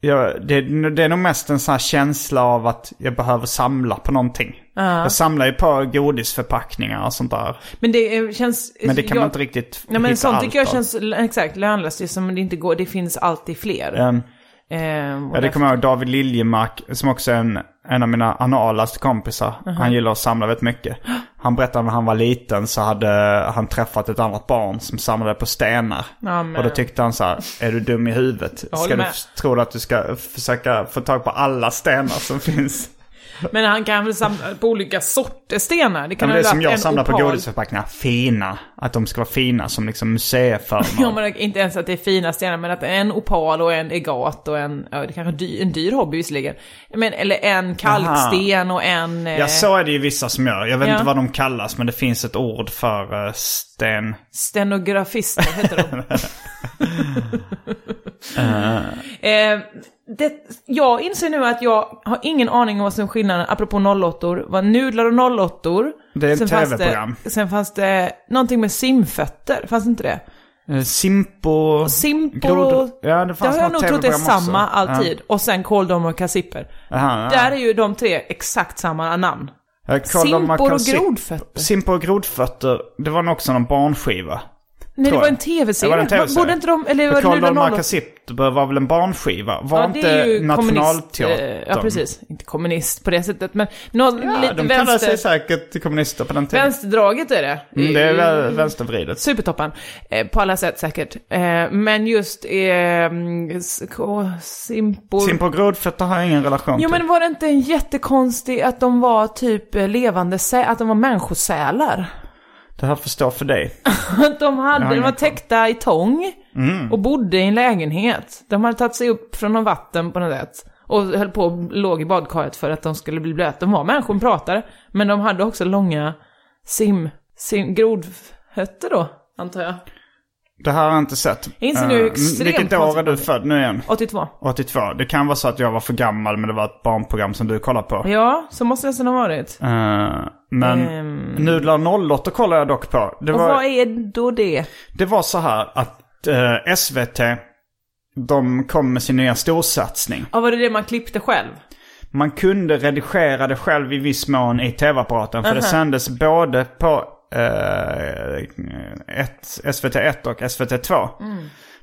Speaker 1: Jag, det, det är nog mest en sån här känsla av att jag behöver samla på någonting. Jag samlar ju på godisförpackningar och sånt där.
Speaker 2: Men det eh, känns...
Speaker 1: Men det kan
Speaker 2: jag,
Speaker 1: man inte riktigt
Speaker 2: Nej men
Speaker 1: hitta
Speaker 2: sånt
Speaker 1: allt
Speaker 2: tycker jag
Speaker 1: av.
Speaker 2: känns l- exakt lönlöst. Det är som det inte går, det finns alltid fler.
Speaker 1: Ehm,
Speaker 2: Ehm, och
Speaker 1: Ja, det
Speaker 2: därför-
Speaker 1: kommer jag ihåg. David Liljemark, som också är en, en av mina analaste kompisar. Han gillar att samla väldigt mycket. Han berättade när han var liten så hade han träffat ett annat barn som samlade på stenar.
Speaker 2: Ja, men-
Speaker 1: och då tyckte han så här, är du dum i huvudet?
Speaker 2: Jag håller
Speaker 1: Ska du,
Speaker 2: med.
Speaker 1: f- tror du att du ska försöka få tag på alla stenar som finns?
Speaker 2: Men han kan väl samla på olika sorters stenar? Det
Speaker 1: Ja,
Speaker 2: kan
Speaker 1: men
Speaker 2: ha
Speaker 1: det är som
Speaker 2: varit
Speaker 1: jag
Speaker 2: en
Speaker 1: samlar på
Speaker 2: opal.
Speaker 1: godisförpackningar, fina. Att de ska vara fina som liksom museiföremål.
Speaker 2: Ja, men inte ens att det är fina stenar, men att en opal och en egat och en, ja, det kanske är dy, en dyr hobby visserligen. Men, eller en kalksten och en... eh,
Speaker 1: Ja, så är det ju vissa som gör. Jag vet
Speaker 2: Ja.
Speaker 1: inte vad de kallas, men det finns ett ord för eh, sten...
Speaker 2: Stenografister heter de. eh, det, jag inser nu att jag har ingen aning om vad som är skillnaden, apropå nollåttor, var nudlar och nollåttor.
Speaker 1: Det är ett
Speaker 2: Sen fanns
Speaker 1: TV-program.
Speaker 2: det- Sen fanns det någonting med simfötter, fanns inte det?
Speaker 1: Eh, Simpo...
Speaker 2: Simpor och...
Speaker 1: Grodor. Ja, det fanns
Speaker 2: har jag
Speaker 1: något
Speaker 2: nog trott det är
Speaker 1: TV-program också.
Speaker 2: samma alltid.
Speaker 1: Ja.
Speaker 2: Och sen kåldom och kassipper.
Speaker 1: Aha, ja.
Speaker 2: Där är ju de tre exakt samma namn.
Speaker 1: Jag kollade om man
Speaker 2: Simpor
Speaker 1: kan
Speaker 2: och
Speaker 1: se-
Speaker 2: grodfötter.
Speaker 1: Simpor och grodfötter, det var nog också någon barnskiva.
Speaker 2: Nej, det
Speaker 1: tror
Speaker 2: var
Speaker 1: jag.
Speaker 2: en
Speaker 1: Det var
Speaker 2: tv-serie.
Speaker 1: en TV-serie.
Speaker 2: Borde inte de... Eller var det
Speaker 1: Karl
Speaker 2: Nudlar och
Speaker 1: Dalmark
Speaker 2: Nollor?
Speaker 1: Kassipper var väl en barnskiva? Var inte
Speaker 2: kommunist,
Speaker 1: Nationalteatern?
Speaker 2: eh, Ja, precis. Inte kommunist på det sättet, men någon,
Speaker 1: Ja,
Speaker 2: lite
Speaker 1: de kallade sig
Speaker 2: vänster,
Speaker 1: säkert kommunister på den tiden.
Speaker 2: vänsterdraget är det.
Speaker 1: Mm, det är väl vänstervridet.
Speaker 2: Supertoppen. Eh, på alla sätt säkert. Eh, men just eh, s- k- simpor...
Speaker 1: Simpor och grodfötter har jag ingen relation
Speaker 2: Jo
Speaker 1: till.
Speaker 2: men var det inte en jättekonstig att de var typ eh, levande sä- att de var människosälar?
Speaker 1: Det här får stå för dig.
Speaker 2: Att de, hade, de
Speaker 1: ingen
Speaker 2: var
Speaker 1: koll.
Speaker 2: täckta i tång
Speaker 1: Mm.
Speaker 2: och bodde i en lägenhet. De hade tagit sig upp från någon vatten på något sätt. Och höll på och låg i badkaret för att de skulle bli blöta. De var människor, de pratade. Men de hade också långa sim, sim, grodfötter då, antar jag.
Speaker 1: Det här har jag inte sett.
Speaker 2: Jag inser nu hur
Speaker 1: Eh,
Speaker 2: extremt
Speaker 1: Vilket år är du
Speaker 2: konstigt.
Speaker 1: född nu igen?
Speaker 2: 82.
Speaker 1: 82. Det kan vara så att jag var för gammal men det var ett barnprogram som du kollade på.
Speaker 2: Ja, så måste det nästan ha varit.
Speaker 1: Eh, men
Speaker 2: Ehm.
Speaker 1: nudlar 08 kollar jag dock på. Det
Speaker 2: Och
Speaker 1: var,
Speaker 2: vad är då det?
Speaker 1: det var så här att eh, SVT, de kom med sin nya storsatsning.
Speaker 2: Ja, var det det man klippte själv?
Speaker 1: Man kunde redigera det själv i viss mån i tv-apparaten. För det sändes både på eh, ett, SVT 1 och SVT
Speaker 2: Mm.
Speaker 1: 2.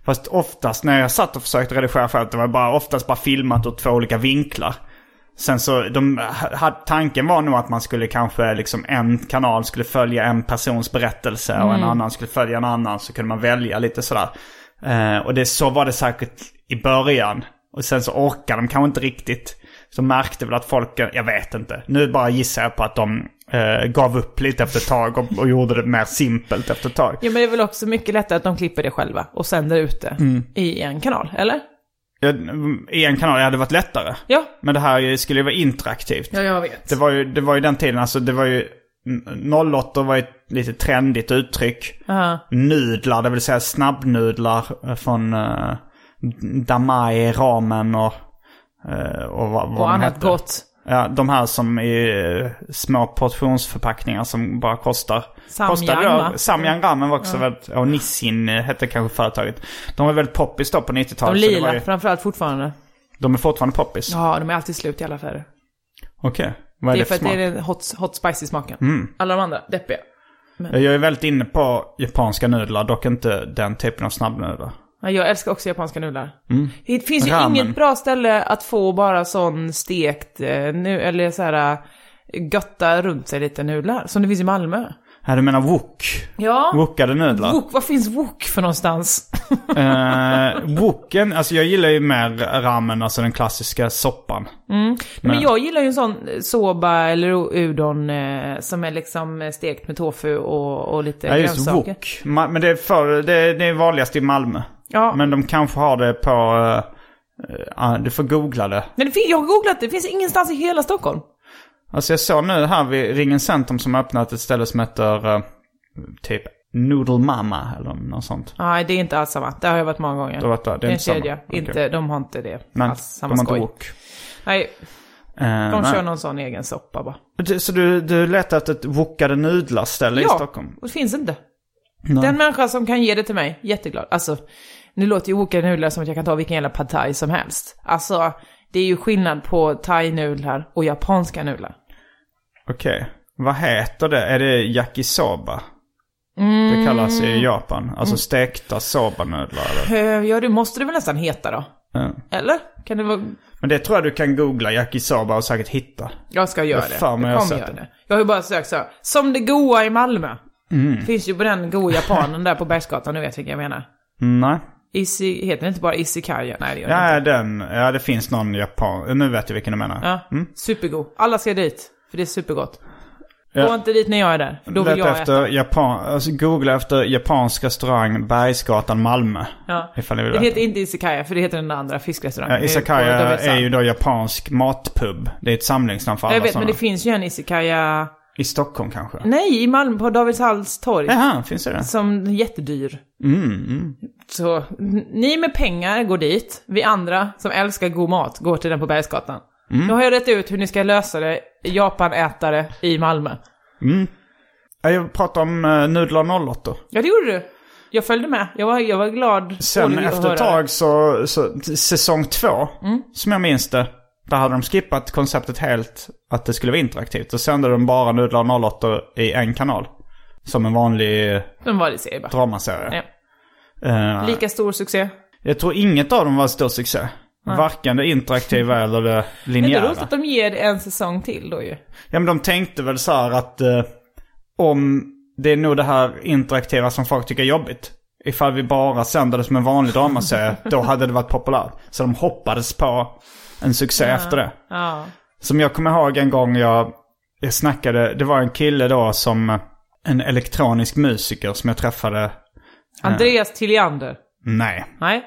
Speaker 1: Fast oftast när jag satt och försökte redigera själv, det var bara, oftast bara filmat ur två olika vinklar. Sen så, de, ha- tanken var nog att man skulle kanske, liksom en kanal skulle följa en persons berättelse och en annan skulle följa en annan. Så kunde man välja lite sådär. Eh, och det, så var det säkert i början. Och sen så orkade de kanske inte riktigt. Så märkte väl att folk, jag vet inte. Nu bara gissar jag på att de eh, gav upp lite efter ett tag och, och gjorde det mer simpelt efter ett tag.
Speaker 2: Ja men det är väl också mycket lättare att de klipper det själva och sänder ut det
Speaker 1: Mm.
Speaker 2: i en kanal, eller?
Speaker 1: Ja, I en kanal hade det varit lättare.
Speaker 2: Ja.
Speaker 1: Men det här ju- skulle ju vara interaktivt.
Speaker 2: jag vet.
Speaker 1: Det var ju, det var ju den tiden, alltså det var ju... n- 08 var ju ett lite trendigt uttryck. Nudlar, det vill säga snabbnudlar eh, från uh, Damai, ramen och... eh, och vad, vad
Speaker 2: Och
Speaker 1: de
Speaker 2: annat
Speaker 1: hette.
Speaker 2: gott.
Speaker 1: Ja, de här som är eh, små portionsförpackningar som bara kostar.
Speaker 2: Samyang,
Speaker 1: kostar
Speaker 2: va?
Speaker 1: Samyang ramen var också väldigt... Och Nissin eh, hette kanske företaget. De var väldigt poppis då på 90-talet.
Speaker 2: De
Speaker 1: så det var
Speaker 2: lila,
Speaker 1: ju-
Speaker 2: framförallt fortfarande.
Speaker 1: De är fortfarande poppis?
Speaker 2: Ja, de är alltid slut i alla affärer.
Speaker 1: Okej. Vad är
Speaker 2: Det
Speaker 1: det Mm. för
Speaker 2: är för att det
Speaker 1: smak?
Speaker 2: är den hot, hot spicy smaken. Alla de andra, deppiga.
Speaker 1: Jag är väldigt inne på japanska nudlar, dock inte den typen av snabbnudlar.
Speaker 2: Ja, Jag älskar också japanska nudlar. Det finns ju
Speaker 1: Mm. Ramen.
Speaker 2: inget bra ställe att få bara sån stekt, eh, nu, eller så här eh, götta runt sig lite nudlar. Som det finns i Malmö.
Speaker 1: Ja, du menar wok?
Speaker 2: Ja.
Speaker 1: Wokade nudlar?
Speaker 2: Wok, vad finns wok för någonstans?
Speaker 1: Eh, woken, alltså jag gillar ju mer ramen, alltså den klassiska soppan.
Speaker 2: Mm. Men, jag gillar ju en sån eh, soba eller u- udon eh, som är liksom eh, stekt med tofu och, och lite
Speaker 1: Ja, just
Speaker 2: grönsaker.
Speaker 1: wok. Ma- Men det är, för, det, är, det är vanligast i Malmö.
Speaker 2: Ja.
Speaker 1: Men de kanske har det på... eh, eh, du får googla det.
Speaker 2: Men det fin- jag har googlat det, det finns ingenstans i hela Stockholm.
Speaker 1: Alltså jag såg nu här vid Ringen Centrum som har öppnat ett ställe som heter eh, typ Noodle Mama eller något sånt.
Speaker 2: Nej, det är inte alls samma. Det har jag varit många gånger.
Speaker 1: Du har varit där, det är
Speaker 2: en
Speaker 1: inte samma.
Speaker 2: kedja.
Speaker 1: Okej.
Speaker 2: Inte, de har inte det
Speaker 1: Men
Speaker 2: alls.
Speaker 1: de
Speaker 2: Alltså, Samma
Speaker 1: har inte
Speaker 2: skoj.
Speaker 1: wok.
Speaker 2: Nej,
Speaker 1: Eh,
Speaker 2: de
Speaker 1: nej.
Speaker 2: kör någon sån egen soppa bara.
Speaker 1: Du- Så du, du letar efter ett wokade nudlar-ställe i Stockholm?
Speaker 2: och det finns inte. Den människa som kan ge det till mig, jätteglad. Alltså, nu låter ju okade nudlar som att jag kan ta vilken jävla pad thai som helst. Alltså, det är ju skillnad på thai-nudlar och japanska nudlar.
Speaker 1: Okej. Vad heter det? Är det yakisoba?
Speaker 2: Mm.
Speaker 1: Det kallas i Japan. Alltså stekta sobanudlar eller?
Speaker 2: Eh, Ja, det måste det väl nästan heta då?
Speaker 1: Ja.
Speaker 2: Eller? Kan det vara...
Speaker 1: Men det tror jag du kan googla yakisoba och säkert hitta.
Speaker 2: Jag ska göra
Speaker 1: Vad
Speaker 2: det.
Speaker 1: fan, men jag
Speaker 2: jag
Speaker 1: har
Speaker 2: kommer
Speaker 1: sett
Speaker 2: göra
Speaker 1: det.
Speaker 2: det. Jag har ju bara sökt så här, som det goa i Malmö.
Speaker 1: Mm.
Speaker 2: Finns ju på den goa japanen där på Bergsgatan, du vet vilken jag menar.
Speaker 1: Nej.
Speaker 2: Isi, heter den inte bara Isikaya? Nej, det gör den
Speaker 1: Ja, den. Ja, det finns någon japan. Nu vet jag vilken du menar.
Speaker 2: Ja, supergod. Alla ska dit, för det är supergott.
Speaker 1: Ja.
Speaker 2: Gå inte dit när jag är där, då vill
Speaker 1: Leta
Speaker 2: jag äta.
Speaker 1: efter Japan, alltså googla efter japansk restaurang Bergsgatan Malmö.
Speaker 2: Ja.
Speaker 1: Ifall ni vill
Speaker 2: Det
Speaker 1: veta.
Speaker 2: heter inte Isikaya, för det heter den andra fiskrestaurangen.
Speaker 1: Ja, Isakaya
Speaker 2: Det på Utav
Speaker 1: Eh, är ju
Speaker 2: Västsand.
Speaker 1: då japansk matpub. Det är ett samlingsnamn för alla
Speaker 2: Jag vet, men
Speaker 1: sådana.
Speaker 2: det finns ju en Isikaya...
Speaker 1: I Stockholm kanske?
Speaker 2: Nej, i Malmö, på Davidshalls torg.
Speaker 1: Jaha, finns det det?
Speaker 2: Som är jättedyr.
Speaker 1: Mm,
Speaker 2: Så n- ni med pengar går dit, vi andra som älskar god mat går till den på Bergsgatan.
Speaker 1: Mm.
Speaker 2: Nu har jag rätt ut hur ni ska lösa det, Japanätare i Malmö.
Speaker 1: Ja, Jag pratar om eh, nudlar 08.
Speaker 2: Ja, det gjorde du. Jag följde med, jag var, jag var glad.
Speaker 1: Sen
Speaker 2: Rolig att
Speaker 1: efter
Speaker 2: höra
Speaker 1: ett
Speaker 2: det. Mm.
Speaker 1: tag så, så t- säsong två, som jag minns det, där hade de skippat konceptet helt att det skulle vara interaktivt. Då sände de bara nudlar 08 i en kanal. Som en vanlig eh,
Speaker 2: Den var det ser jag bara.
Speaker 1: dramaserie.
Speaker 2: Ja.
Speaker 1: Eh,
Speaker 2: Lika stor succé.
Speaker 1: Jag tror inget av dem var en stor succé. Varken det interaktiva eller det
Speaker 2: Det är roligt
Speaker 1: linjära.
Speaker 2: att de ger det en säsong till då ju.
Speaker 1: Ja, men de tänkte väl så här att eh, om det är nog det här interaktiva som folk tycker är jobbigt. Ifall vi bara sänder det som en vanlig dramaserie, då hade det varit populärt. Så de hoppades på en succé efter det.
Speaker 2: Ja.
Speaker 1: Som jag kommer ihåg en gång jag, jag snackade, det var en kille då som, en elektronisk musiker som jag träffade,
Speaker 2: Andreas Tilliander.
Speaker 1: nej,
Speaker 2: Nej.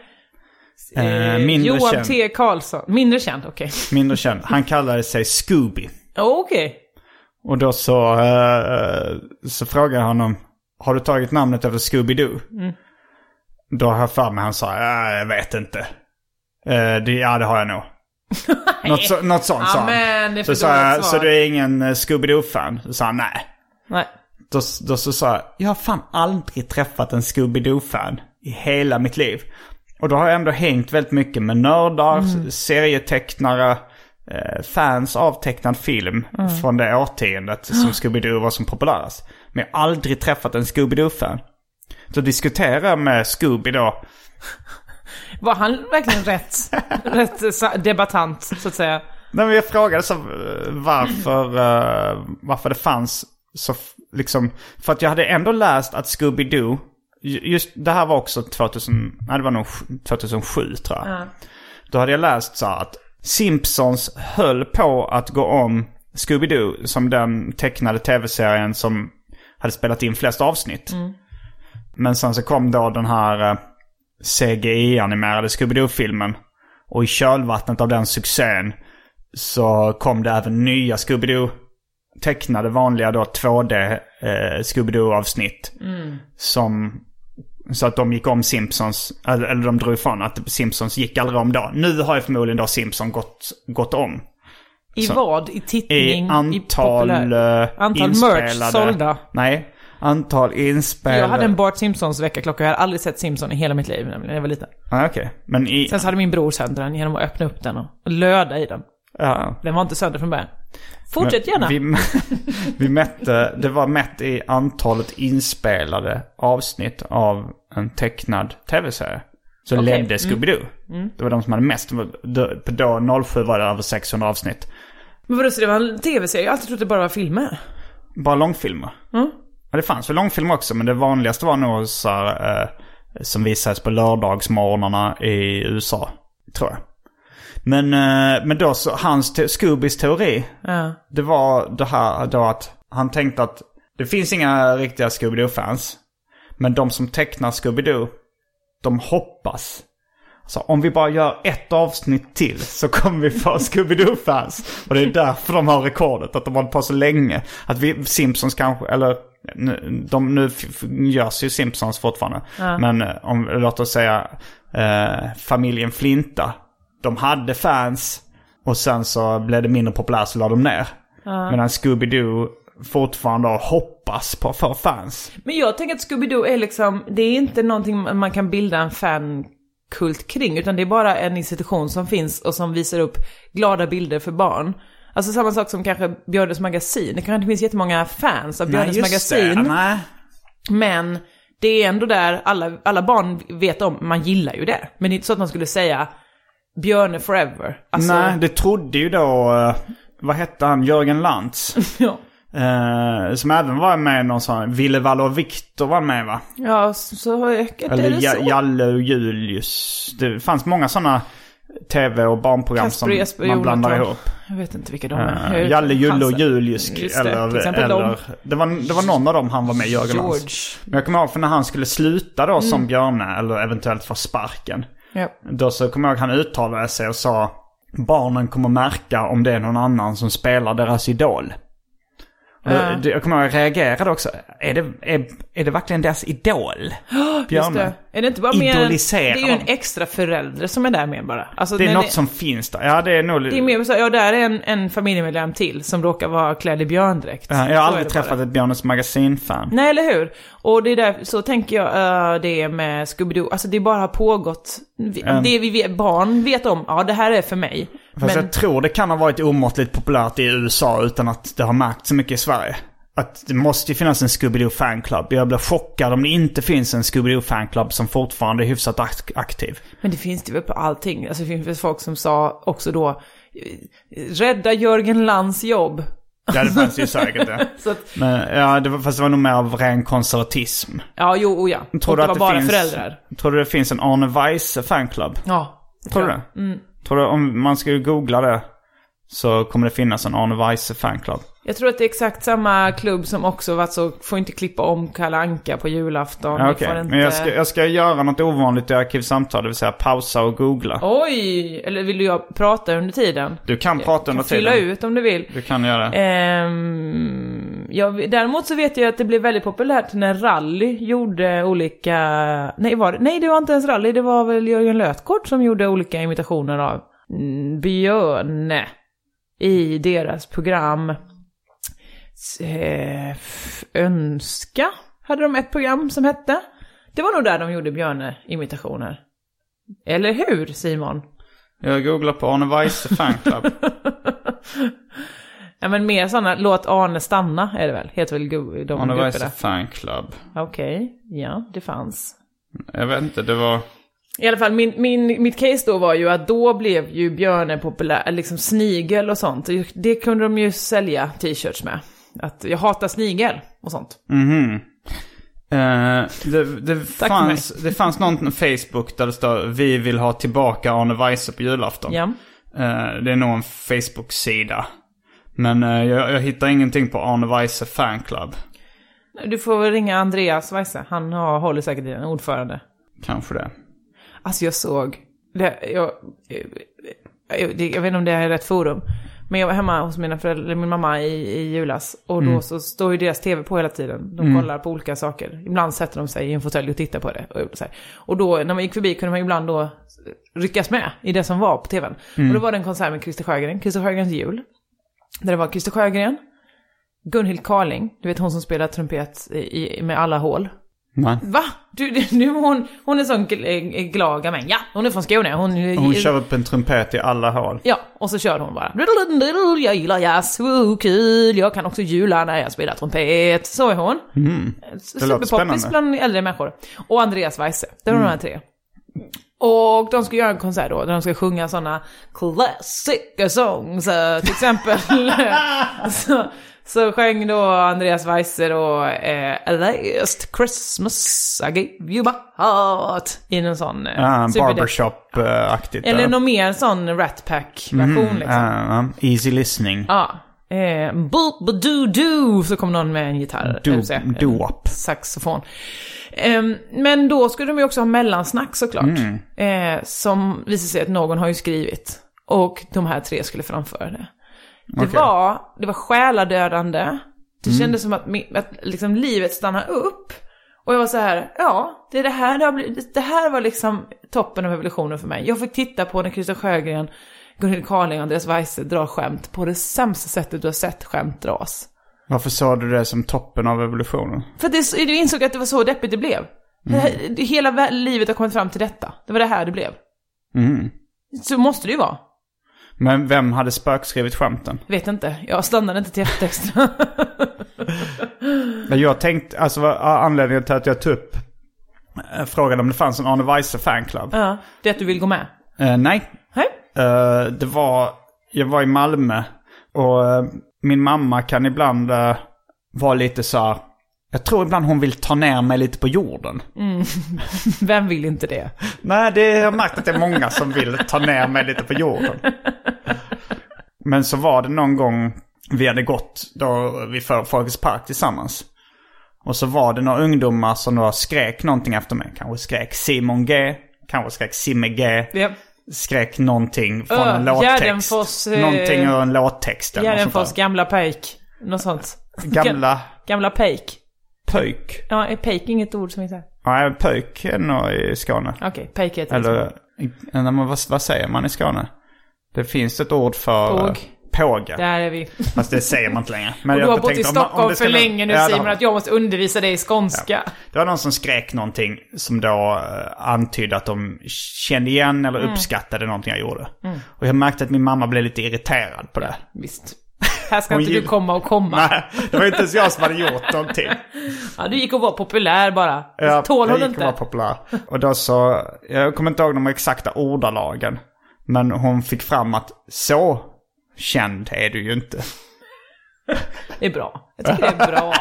Speaker 1: Eh, mindre
Speaker 2: Johan
Speaker 1: känd.
Speaker 2: T. Karlsson. Mindre känd, okej.
Speaker 1: mindre känd. Han kallade sig Scooby.
Speaker 2: Oh, Okej.
Speaker 1: Och då så, eh, så frågade jag honom, har du tagit namnet efter Scooby-Doo?
Speaker 2: Mm.
Speaker 1: Då har jag för mig han sa, "Ja, jag vet inte. Eh, det, ja, det har jag nog. något, så, något sånt sa
Speaker 2: Amen, det är
Speaker 1: Så
Speaker 2: för
Speaker 1: sa jag,
Speaker 2: dåligt
Speaker 1: så
Speaker 2: svar."
Speaker 1: du är ingen eh, Scooby-Doo-fan? Så sa han, nej.
Speaker 2: Nej.
Speaker 1: Då, då så sa jag, jag har fan aldrig träffat en Scooby-Doo-fan i hela mitt liv. Och då har jag ändå hängt väldigt mycket med nördar, serietecknare, eh, fans av tecknad film från det årtiondet som Scooby-Doo var som populärast. Men jag har aldrig träffat en Scooby-Doo-fan. Så diskuterar jag med Scooby då,
Speaker 2: Var han verkligen rätt, rätt sa- debattant, så att säga?
Speaker 1: Nej, men jag frågade så, eh, varför, eh, varför det fanns så f- liksom... För att jag hade ändå läst att Scooby-Doo... ju- Just det här var också 2000... Nej, det var nog sj- 2007 tror jag. Då hade jag läst så här att Simpsons höll på att gå om Scooby-Doo som den tecknade tv-serien som hade spelat in flest avsnitt. Men sen så kom då den här eh, CGI-animerade Scooby-Doo-filmen. Och i kölvattnet av den succén så kom det även nya Scooby-Doo. Tecknade vanliga då 2D eh, Scooby-Doo-avsnitt.
Speaker 2: Mm.
Speaker 1: Som... Så att de gick om Simpsons, eller, eller de drog ifrån att Simpsons gick aldrig om då. Nu har ju förmodligen då Simpsons gått, gått om.
Speaker 2: I
Speaker 1: Så-
Speaker 2: vad? I tittning?
Speaker 1: I antal
Speaker 2: populär-
Speaker 1: eh,
Speaker 2: Antal
Speaker 1: inspelade...
Speaker 2: merch sålda?
Speaker 1: Nej, antal inspelade...
Speaker 2: Jag hade en Bart Simpsons väckarklocka, jag hade aldrig sett Simpson i hela mitt liv nämligen, när jag var liten.
Speaker 1: ah, okej. Men i...
Speaker 2: Sen så hade min bror sänt den genom att öppna upp den och löda i den.
Speaker 1: Ja.
Speaker 2: Den var inte sönder från början. Fortsätt gärna.
Speaker 1: Vi, vi mätte, det var mätt i antalet inspelade avsnitt av en tecknad tv-serie. Så ledde Scooby-Doo.
Speaker 2: Mm.
Speaker 1: Det var de som hade mest. Då- Då 07 var det över 600 avsnitt.
Speaker 2: Men vadå, så det var en tv-serie? Jag har alltid trott det bara var filmer.
Speaker 1: Bara långfilmer. Ja, det fanns väl långfilmer också, men det vanligaste var nog så här, eh, som visades på lördagsmorgnarna i USA, tror jag. Men, eh, men då så, hans, te- Scoobys teori, det var det här då att han tänkte att det finns inga riktiga Scooby-Doo-fans. Men de som tecknar Scooby-Doo, de hoppas. Så om vi bara gör ett avsnitt till så kommer vi få Scooby-Doo-fans. Och det är därför de har rekordet, att de har hållit på så länge. Att vi, Simpsons kanske, eller nu- de, nu f- f- görs ju Simpsons fortfarande. Men eh, om, låt oss säga eh, familjen Flinta. De hade fans och sen så blev det mindre populärt så la de ner. Medan Scooby-Doo fortfarande hoppas på att få fans.
Speaker 2: Men jag tänker att Scooby-Doo är liksom, det är inte någonting man kan bilda en fankult kring, utan det är bara en institution som finns och som visar upp glada bilder för barn. Alltså samma sak som kanske Björnes magasin. Det kanske inte finns jättemånga fans av Björnes
Speaker 1: just
Speaker 2: magasin.
Speaker 1: Det. Nej.
Speaker 2: Men det är ändå där alla, alla barn vet om, man gillar ju det. Men det är inte så att man skulle säga Björne forever. Alltså,
Speaker 1: Nej, det trodde ju då, eh, vad hette han, Jörgen Lantz.
Speaker 2: ja.
Speaker 1: eh, som även var med i någon sån, Ville Valle och Viktor var med va?
Speaker 2: Ja, så- så ökat är
Speaker 1: Eller
Speaker 2: det så.
Speaker 1: ja, Jalle och Julius. Det fanns många sådana tv och barnprogram
Speaker 2: Kasper,
Speaker 1: som
Speaker 2: Jesper,
Speaker 1: man blandar
Speaker 2: Jonathan.
Speaker 1: ihop.
Speaker 2: Jag vet inte vilka de är.
Speaker 1: Eh,
Speaker 2: Jag-
Speaker 1: Jalle, Julle och
Speaker 2: Hansen.
Speaker 1: Julius.
Speaker 2: Just det,
Speaker 1: Eller,
Speaker 2: till exempel de.
Speaker 1: eller, det, var, det var någon av dem han var med i, Jörgen
Speaker 2: George. Mm.
Speaker 1: Lantz. Men jag kommer ihåg för när han skulle sluta då som Björne, eller eventuellt få sparken.
Speaker 2: Ja.
Speaker 1: Då så kommer jag ihåg han uttalade sig och sa Barnen kommer märka om det är någon annan som spelar deras idol. Och det- Jag kommer ihåg jag reagerade också. Är det, är, är det verkligen deras idol?
Speaker 2: Just
Speaker 1: Björne?
Speaker 2: det. Alltså, Är det inte bara mer en, Det
Speaker 1: Idolisera
Speaker 2: är ju en
Speaker 1: dem.
Speaker 2: extra förälder som är där med bara. Alltså,
Speaker 1: Det är
Speaker 2: när
Speaker 1: något som finns där. Ja, det är nog...
Speaker 2: Det är mer så, ja där är en, en familjemedlem till som råkar vara klädd i björndräkt.
Speaker 1: Ja, jag
Speaker 2: Så
Speaker 1: har
Speaker 2: är
Speaker 1: aldrig
Speaker 2: det
Speaker 1: träffat
Speaker 2: bara.
Speaker 1: ett Björnes Magasin-fan.
Speaker 2: Nej, eller hur? Och det är där, så tänker jag eh, det är med Scooby-Doo. Alltså det bara har pågått. Vi,
Speaker 1: Ehm.
Speaker 2: Det vi vet, barn vet om, ja det här är för mig.
Speaker 1: Fast
Speaker 2: Men
Speaker 1: jag tror det kan ha varit omåttligt populärt i USA utan att det har märkts så mycket i Sverige. Att det måste ju finnas en Scooby-Doo fanclub. Jag blir chockad om det inte finns en Scooby-Doo fanclub som fortfarande är hyfsat ak- aktiv.
Speaker 2: Men det finns det väl på allting. Alltså det finns väl folk som sa också då, eh, rädda Jörgen Lands jobb.
Speaker 1: Ja, det fanns ju säkert det.
Speaker 2: Så att,
Speaker 1: Men, ja, det var, fast det var nog mer av ren konservatism.
Speaker 2: ja, jo, och ja.
Speaker 1: Tror
Speaker 2: och
Speaker 1: du
Speaker 2: det
Speaker 1: att
Speaker 2: var
Speaker 1: det
Speaker 2: bara
Speaker 1: finns,
Speaker 2: föräldrar.
Speaker 1: Tror du det finns en Arne Weise fanclub?
Speaker 2: Ja. Mm.
Speaker 1: Tror du det? Tror du om man skulle googla det så kommer det finnas en Arne Weise fanclub?
Speaker 2: Jag tror att det är exakt samma klubb som också varit så, får inte klippa om Kalle Anka på julafton.
Speaker 1: Ja,
Speaker 2: ni
Speaker 1: Ah, Okej,
Speaker 2: får inte...
Speaker 1: men jag ska, jag ska göra något ovanligt i Arkivsamtal, det vill säga pausa och googla.
Speaker 2: Oj! Eller vill jag prata under tiden?
Speaker 1: Du kan prata under
Speaker 2: kan fylla
Speaker 1: tiden.
Speaker 2: ut Eh. om du vill.
Speaker 1: Du kan göra det.
Speaker 2: Ehm, jag, däremot så vet jag att det blev väldigt populärt när Rally gjorde olika... Nej, var, det- nej, det var inte ens Rally, det var väl Jörgen Lötgård som gjorde olika imitationer av mm, Björne i deras program S- eh, f- Önska. Hade de ett program som hette. Det var nog där de gjorde Björne-imitationer. Eller hur, Simon?
Speaker 1: Jag googlar på Arne Weise fanclub.
Speaker 2: Ja men mer sådana, låt Arne stanna är det väl? Heter väl gu- de
Speaker 1: Arne Weise
Speaker 2: grupperna?
Speaker 1: fanclub.
Speaker 2: Okej, ja det fanns.
Speaker 1: Jag vet inte, det var...
Speaker 2: I alla fall min, min, mitt case då var ju att då blev ju björnen populär, eller liksom snigel och sånt. Det kunde de ju sälja t-shirts med. Att jag hatar snigel och sånt.
Speaker 1: Eh, det, det,
Speaker 2: Tack för
Speaker 1: fanns, det fanns någon på Facebook där det står Vi vill ha tillbaka Arne Weise på julafton.
Speaker 2: Ja.
Speaker 1: Eh, det är nog en Facebook-sida. Men eh, jag, jag hittar ingenting på Arne Weise fanclub.
Speaker 2: Du får väl ringa Andreas Weise, han har, håller säkert i den, ordförande.
Speaker 1: Kanske det.
Speaker 2: Alltså jag såg, det, jag, jag, det- jag vet inte om det här är rätt forum, men jag var hemma hos mina föräldrar, eller min mamma i, i julas och då så står ju deras tv på hela tiden. De kollar på olika saker. Ibland sätter de sig i en fåtölj och tittar på det. Och, så här. och då när man gick förbi kunde man ibland då ryckas med i det som var på tvn. Och då var det en konsert med Christer Sjögren, Christer Sjögrens jul. Där det var Christer Sjögren, Gunhild Carling, du vet hon som spelar trumpet i, i, med alla hål.
Speaker 1: Nej.
Speaker 2: Va? Du, du- nu hon, hon är sån gl- glad gamäng. Ja, hon är från Skåne. Hon,
Speaker 1: Hon kör upp en trumpet i alla hål.
Speaker 2: Ja, och så kör hon bara. "Duddelundell, Jag gillar jazz, woo, kul, jag kan också jula när jag spelar trumpet. Så är hon. Mm. Superpoppis
Speaker 1: spännande.
Speaker 2: bland äldre människor. Och Andreas Weise, det var de här tre. Och de ska göra en konsert då, där de ska sjunga sådana classic songs. eh, Till exempel så, så sjöng då Andreas Weise då eh, Last Christmas I gave you my heart. I någon sån eh,
Speaker 1: Ja,
Speaker 2: superdep-
Speaker 1: Barbershop-aktigt.
Speaker 2: Eller
Speaker 1: där.
Speaker 2: någon mer sån Rat Pack-version liksom.
Speaker 1: Ja, ja. easy listening.
Speaker 2: Ja. Eh, boop doo doo så kom någon med en gitarr.
Speaker 1: Do-
Speaker 2: eller så, en
Speaker 1: doo-wop.
Speaker 2: Saxofon. Ehm, men då skulle de ju också ha mellansnack såklart. Eh, som visar sig att någon har ju skrivit. Och de här tre skulle framföra det. Det
Speaker 1: Okej. Mm.
Speaker 2: var, det var själadödande. Det kändes som att, mi- att liksom livet stannade upp. Och jag var så här, ja, det, är det, här, det, har blivit, det här var liksom toppen av evolutionen för mig. Jag fick titta på när Christer Sjögren, Gunhild Carling och Andreas Weise drar skämt på det sämsta sättet du har sett skämt dras.
Speaker 1: Varför sa du det som toppen av evolutionen?
Speaker 2: För det, du insåg att det var så deppigt det blev. Det här, det- hela vä- livet har kommit fram till detta. Det var det här det blev.
Speaker 1: Mm.
Speaker 2: Så måste det ju vara.
Speaker 1: Men vem hade spökskrivit skämten?
Speaker 2: Vet inte, jag stannade inte till eftertexterna.
Speaker 1: Men Jag tänkte, alltså vad- anledningen till att jag tog upp eh, frågan om det fanns en Arne Weise fanclub.
Speaker 2: ja, det att du vill gå med.
Speaker 1: Eh, nej,
Speaker 2: Nej?
Speaker 1: Eh, det var, jag var i Malmö och eh, min mamma kan ibland eh, vara lite så här, jag tror ibland hon vill ta ner mig lite på jorden.
Speaker 2: Vem vill inte det?
Speaker 1: Nej, det, jag har märkt att det är många som vill ta ner mig lite på jorden. Men så var det någon gång vi hade gått då vi för Folkets Park tillsammans. Och så var det några ungdomar som då skrek någonting efter mig. Kanske skrek Simon G. Kanske skrek Simme G.
Speaker 2: Ja.
Speaker 1: Skrek någonting från
Speaker 2: Ö,
Speaker 1: en låttext.
Speaker 2: Gärdenfors, eh,
Speaker 1: någonting ur en låttext eller något
Speaker 2: Järnfors
Speaker 1: sånt där.
Speaker 2: gamla pejk. Något sånt.
Speaker 1: Gamla
Speaker 2: Gamla pejk.
Speaker 1: pöjk.
Speaker 2: Ja, är pejk inget ord som heter?
Speaker 1: Nej, pöjk är nog i Skåne.
Speaker 2: Okej, pejk heter
Speaker 1: Eller, nej, men vad, vad säger man i Skåne? Det finns ett ord för...
Speaker 2: Påg.
Speaker 1: Påga.
Speaker 2: Där är vi.
Speaker 1: Fast det säger man inte längre. Men
Speaker 2: Du
Speaker 1: jag
Speaker 2: har bott i
Speaker 1: tänkte om man- om
Speaker 2: Stockholm
Speaker 1: det ska
Speaker 2: för
Speaker 1: nå-
Speaker 2: länge nu
Speaker 1: Ja, det har
Speaker 2: Simon,
Speaker 1: man.
Speaker 2: att jag måste undervisa dig i skånska.
Speaker 1: Det var någon som skrek någonting som då eh, antydde att de kände igen eller
Speaker 2: Mm.
Speaker 1: uppskattade någonting jag gjorde. Och jag märkte att min mamma blev lite irriterad på det.
Speaker 2: Visst. Här ska
Speaker 1: Hon
Speaker 2: inte du
Speaker 1: gill-
Speaker 2: komma och komma.
Speaker 1: Nej, det var inte ens jag som hade gjort någonting.
Speaker 2: Ja, du gick och var populär bara.
Speaker 1: Ja,
Speaker 2: Tål
Speaker 1: jag
Speaker 2: hon
Speaker 1: gick och var
Speaker 2: inte?
Speaker 1: populär. Och då så, jag kommer inte ihåg de exakta ordalagen. Men hon fick fram att så känd är du ju inte.
Speaker 2: Det är bra. Jag tycker det är bra.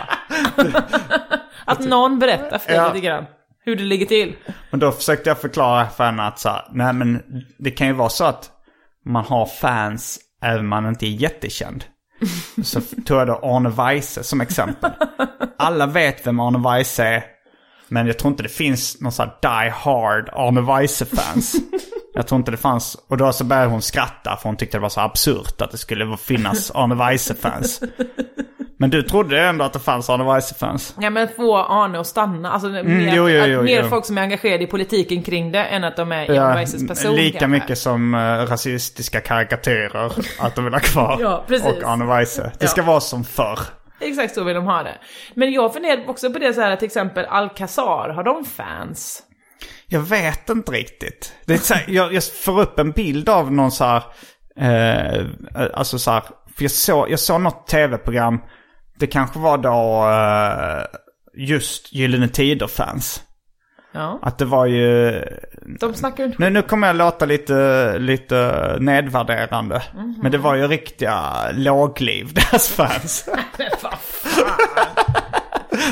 Speaker 2: att någon berättar för dig
Speaker 1: Ja.
Speaker 2: lite grann. Hur det ligger till.
Speaker 1: Men då försökte jag förklara för henne att så här, nej men det kan ju vara så att man har fans även om man inte är jättekänd. Så tog jag då Arne Weise som exempel. Alla vet vem Arne Weise är, men jag tror inte det finns någon så här die hard Arne Weise-fans. Jag tror inte det fanns. Och då så började hon skratta för hon tyckte det var så absurt att det skulle finnas Arne Weise-fans. Men du trodde ändå att det fanns Arne Weise-fans?
Speaker 2: Ja, men få Arne att stanna. Alltså, mer,
Speaker 1: Mm, jo, jo, jo,
Speaker 2: att, mer
Speaker 1: jo.
Speaker 2: folk som är engagerade i politiken kring det än att de är Jan Weises person.
Speaker 1: lika
Speaker 2: kanske.
Speaker 1: mycket som eh, rasistiska karikatyrer att de vill ha kvar.
Speaker 2: Ja, precis.
Speaker 1: Och Arne Weise. Det ska vara som förr.
Speaker 2: Exakt så vill de ha det. Men jag funderar också på det så här att till exempel Alcazar, har de fans?
Speaker 1: Jag vet inte riktigt. Det är så här, jag, jag får upp en bild av någon så här, eh, alltså så här, för jag såg, jag såg något tv-program, det kanske var då eh, just Gyllene Tider-fans.
Speaker 2: Ja.
Speaker 1: Att det var ju
Speaker 2: De snackar ju inte
Speaker 1: Nu, nu kommer jag låta lite, lite nedvärderande.
Speaker 2: Mhm.
Speaker 1: Men det var ju riktiga lågliv, deras fans.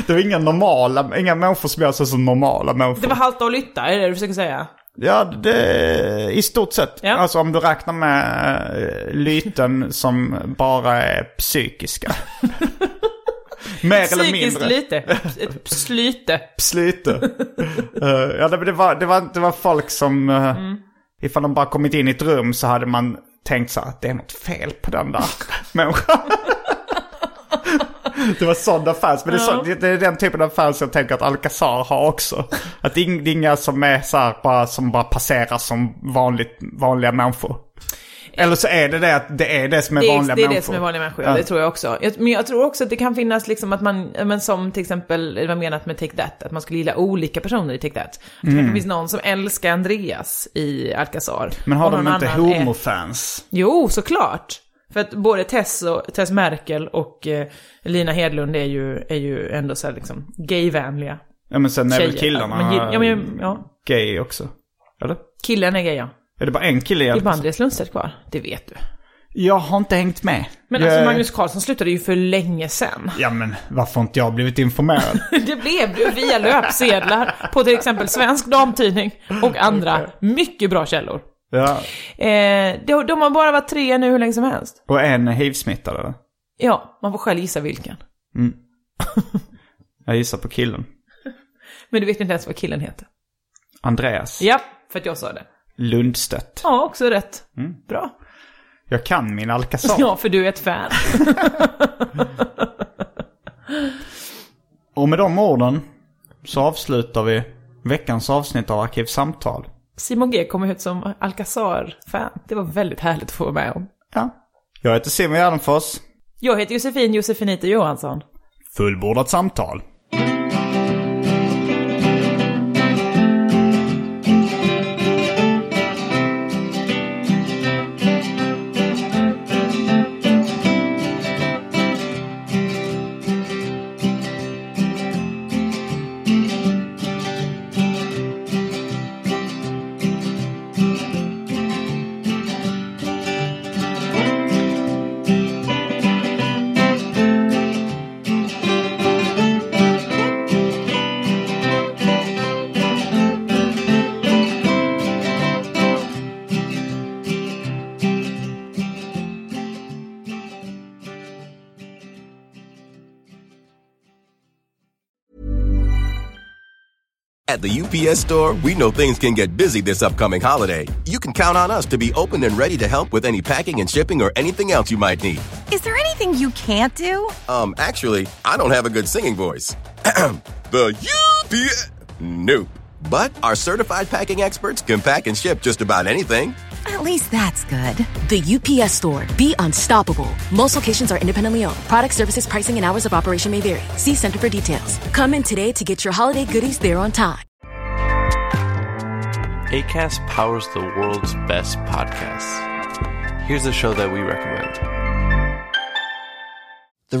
Speaker 1: det var inga normala, inga människor som jag såg som normala människor.
Speaker 2: Det var halta och lytta, är det det du försöker säga?
Speaker 1: Ja, det, i stort sett.
Speaker 2: Ja.
Speaker 1: Alltså om du räknar med eh, lyten som bara är psykiska. Mer eller
Speaker 2: Psykiskt
Speaker 1: mindre.
Speaker 2: lite. Ett slyte.
Speaker 1: Slite. Eh, ja, det, det, var, det, var, det var folk som... eh,
Speaker 2: Mm.
Speaker 1: Ifall de bara kommit in i ett rum så hade man tänkt så här att det är något fel på den där människan. det var sådana fans. Men det, är så, det, det är den typen av fans jag tänker att Alcazar har också. Att det är inga som är så här bara, som bara passerar som vanligt, vanliga människor. Eller så är det det att det är det som är
Speaker 2: Det är,
Speaker 1: vanliga
Speaker 2: det är
Speaker 1: människor.
Speaker 2: det som är vanliga människor, ja. det tror jag också. Jag, men jag tror också att det kan finnas liksom att man, ja, men som till exempel, det var menat med Take That, att man skulle gilla olika personer i Take That. Mm. Det finns någon som älskar Andreas i Alcazar.
Speaker 1: Men
Speaker 2: och
Speaker 1: har de
Speaker 2: någon
Speaker 1: inte
Speaker 2: annan är-
Speaker 1: homofans?
Speaker 2: Jo, såklart. För att både Tess, och, Tess Merkel och eh, Lina Hedlund är ju, är ju ändå så här liksom gayvänliga
Speaker 1: Ja men sen är väl
Speaker 2: tjejer.
Speaker 1: killarna
Speaker 2: Men, gill- ja, men, ja.
Speaker 1: gay också? Eller?
Speaker 2: Killen är gay, ja.
Speaker 1: Är det bara en kille i
Speaker 2: Det är bara
Speaker 1: alla
Speaker 2: Andreas Lundstedt kvar, det vet du.
Speaker 1: Jag har inte hängt med.
Speaker 2: Men
Speaker 1: jag...
Speaker 2: alltså Magnus Carlsson slutade ju för länge sedan.
Speaker 1: Ja men varför har inte jag blivit informerad?
Speaker 2: Det blev du via löpsedlar på till exempel Svensk Damtidning och andra mycket bra källor.
Speaker 1: ja.
Speaker 2: Eh, de, de har bara varit tre nu hur länge som helst.
Speaker 1: Och en är hiv-smittad eller?
Speaker 2: Ja, man får själv gissa vilken.
Speaker 1: Jag gissar på killen.
Speaker 2: Men du vet inte ens vad killen heter.
Speaker 1: Andreas
Speaker 2: Ja, för att jag sa det.
Speaker 1: Lundstedt.
Speaker 2: Ja, också rätt. Bra.
Speaker 1: Jag kan min Alcazar.
Speaker 2: Ja, för du är ett fan.
Speaker 1: Och med de orden så avslutar vi veckans avsnitt av Arkivsamtal.
Speaker 2: Simon G kom ut som Alcazar-fan. Det var väldigt härligt att få vara med om.
Speaker 1: Ja. Jag heter Simon Gärdenfors.
Speaker 2: Jag heter Josefin Josefinito Johansson.
Speaker 1: Fullbordat samtal.
Speaker 4: At the UPS store, we know things can get busy this upcoming holiday. You can count on us to be open and ready to help with any packing and shipping or anything else you might need.
Speaker 5: Is there anything you can't do?
Speaker 4: Um, actually, I don't have a good singing voice. the UPS. Nope. But our certified packing experts can pack and ship just about anything.
Speaker 5: At least that's good.
Speaker 6: The UPS store. Be unstoppable. Most locations are independently owned. Product services, pricing, and hours of operation may vary. See Center for details. Come in today to get your holiday goodies there on time.
Speaker 5: ACAST powers the world's best podcasts. Here's a show that we recommend.
Speaker 4: The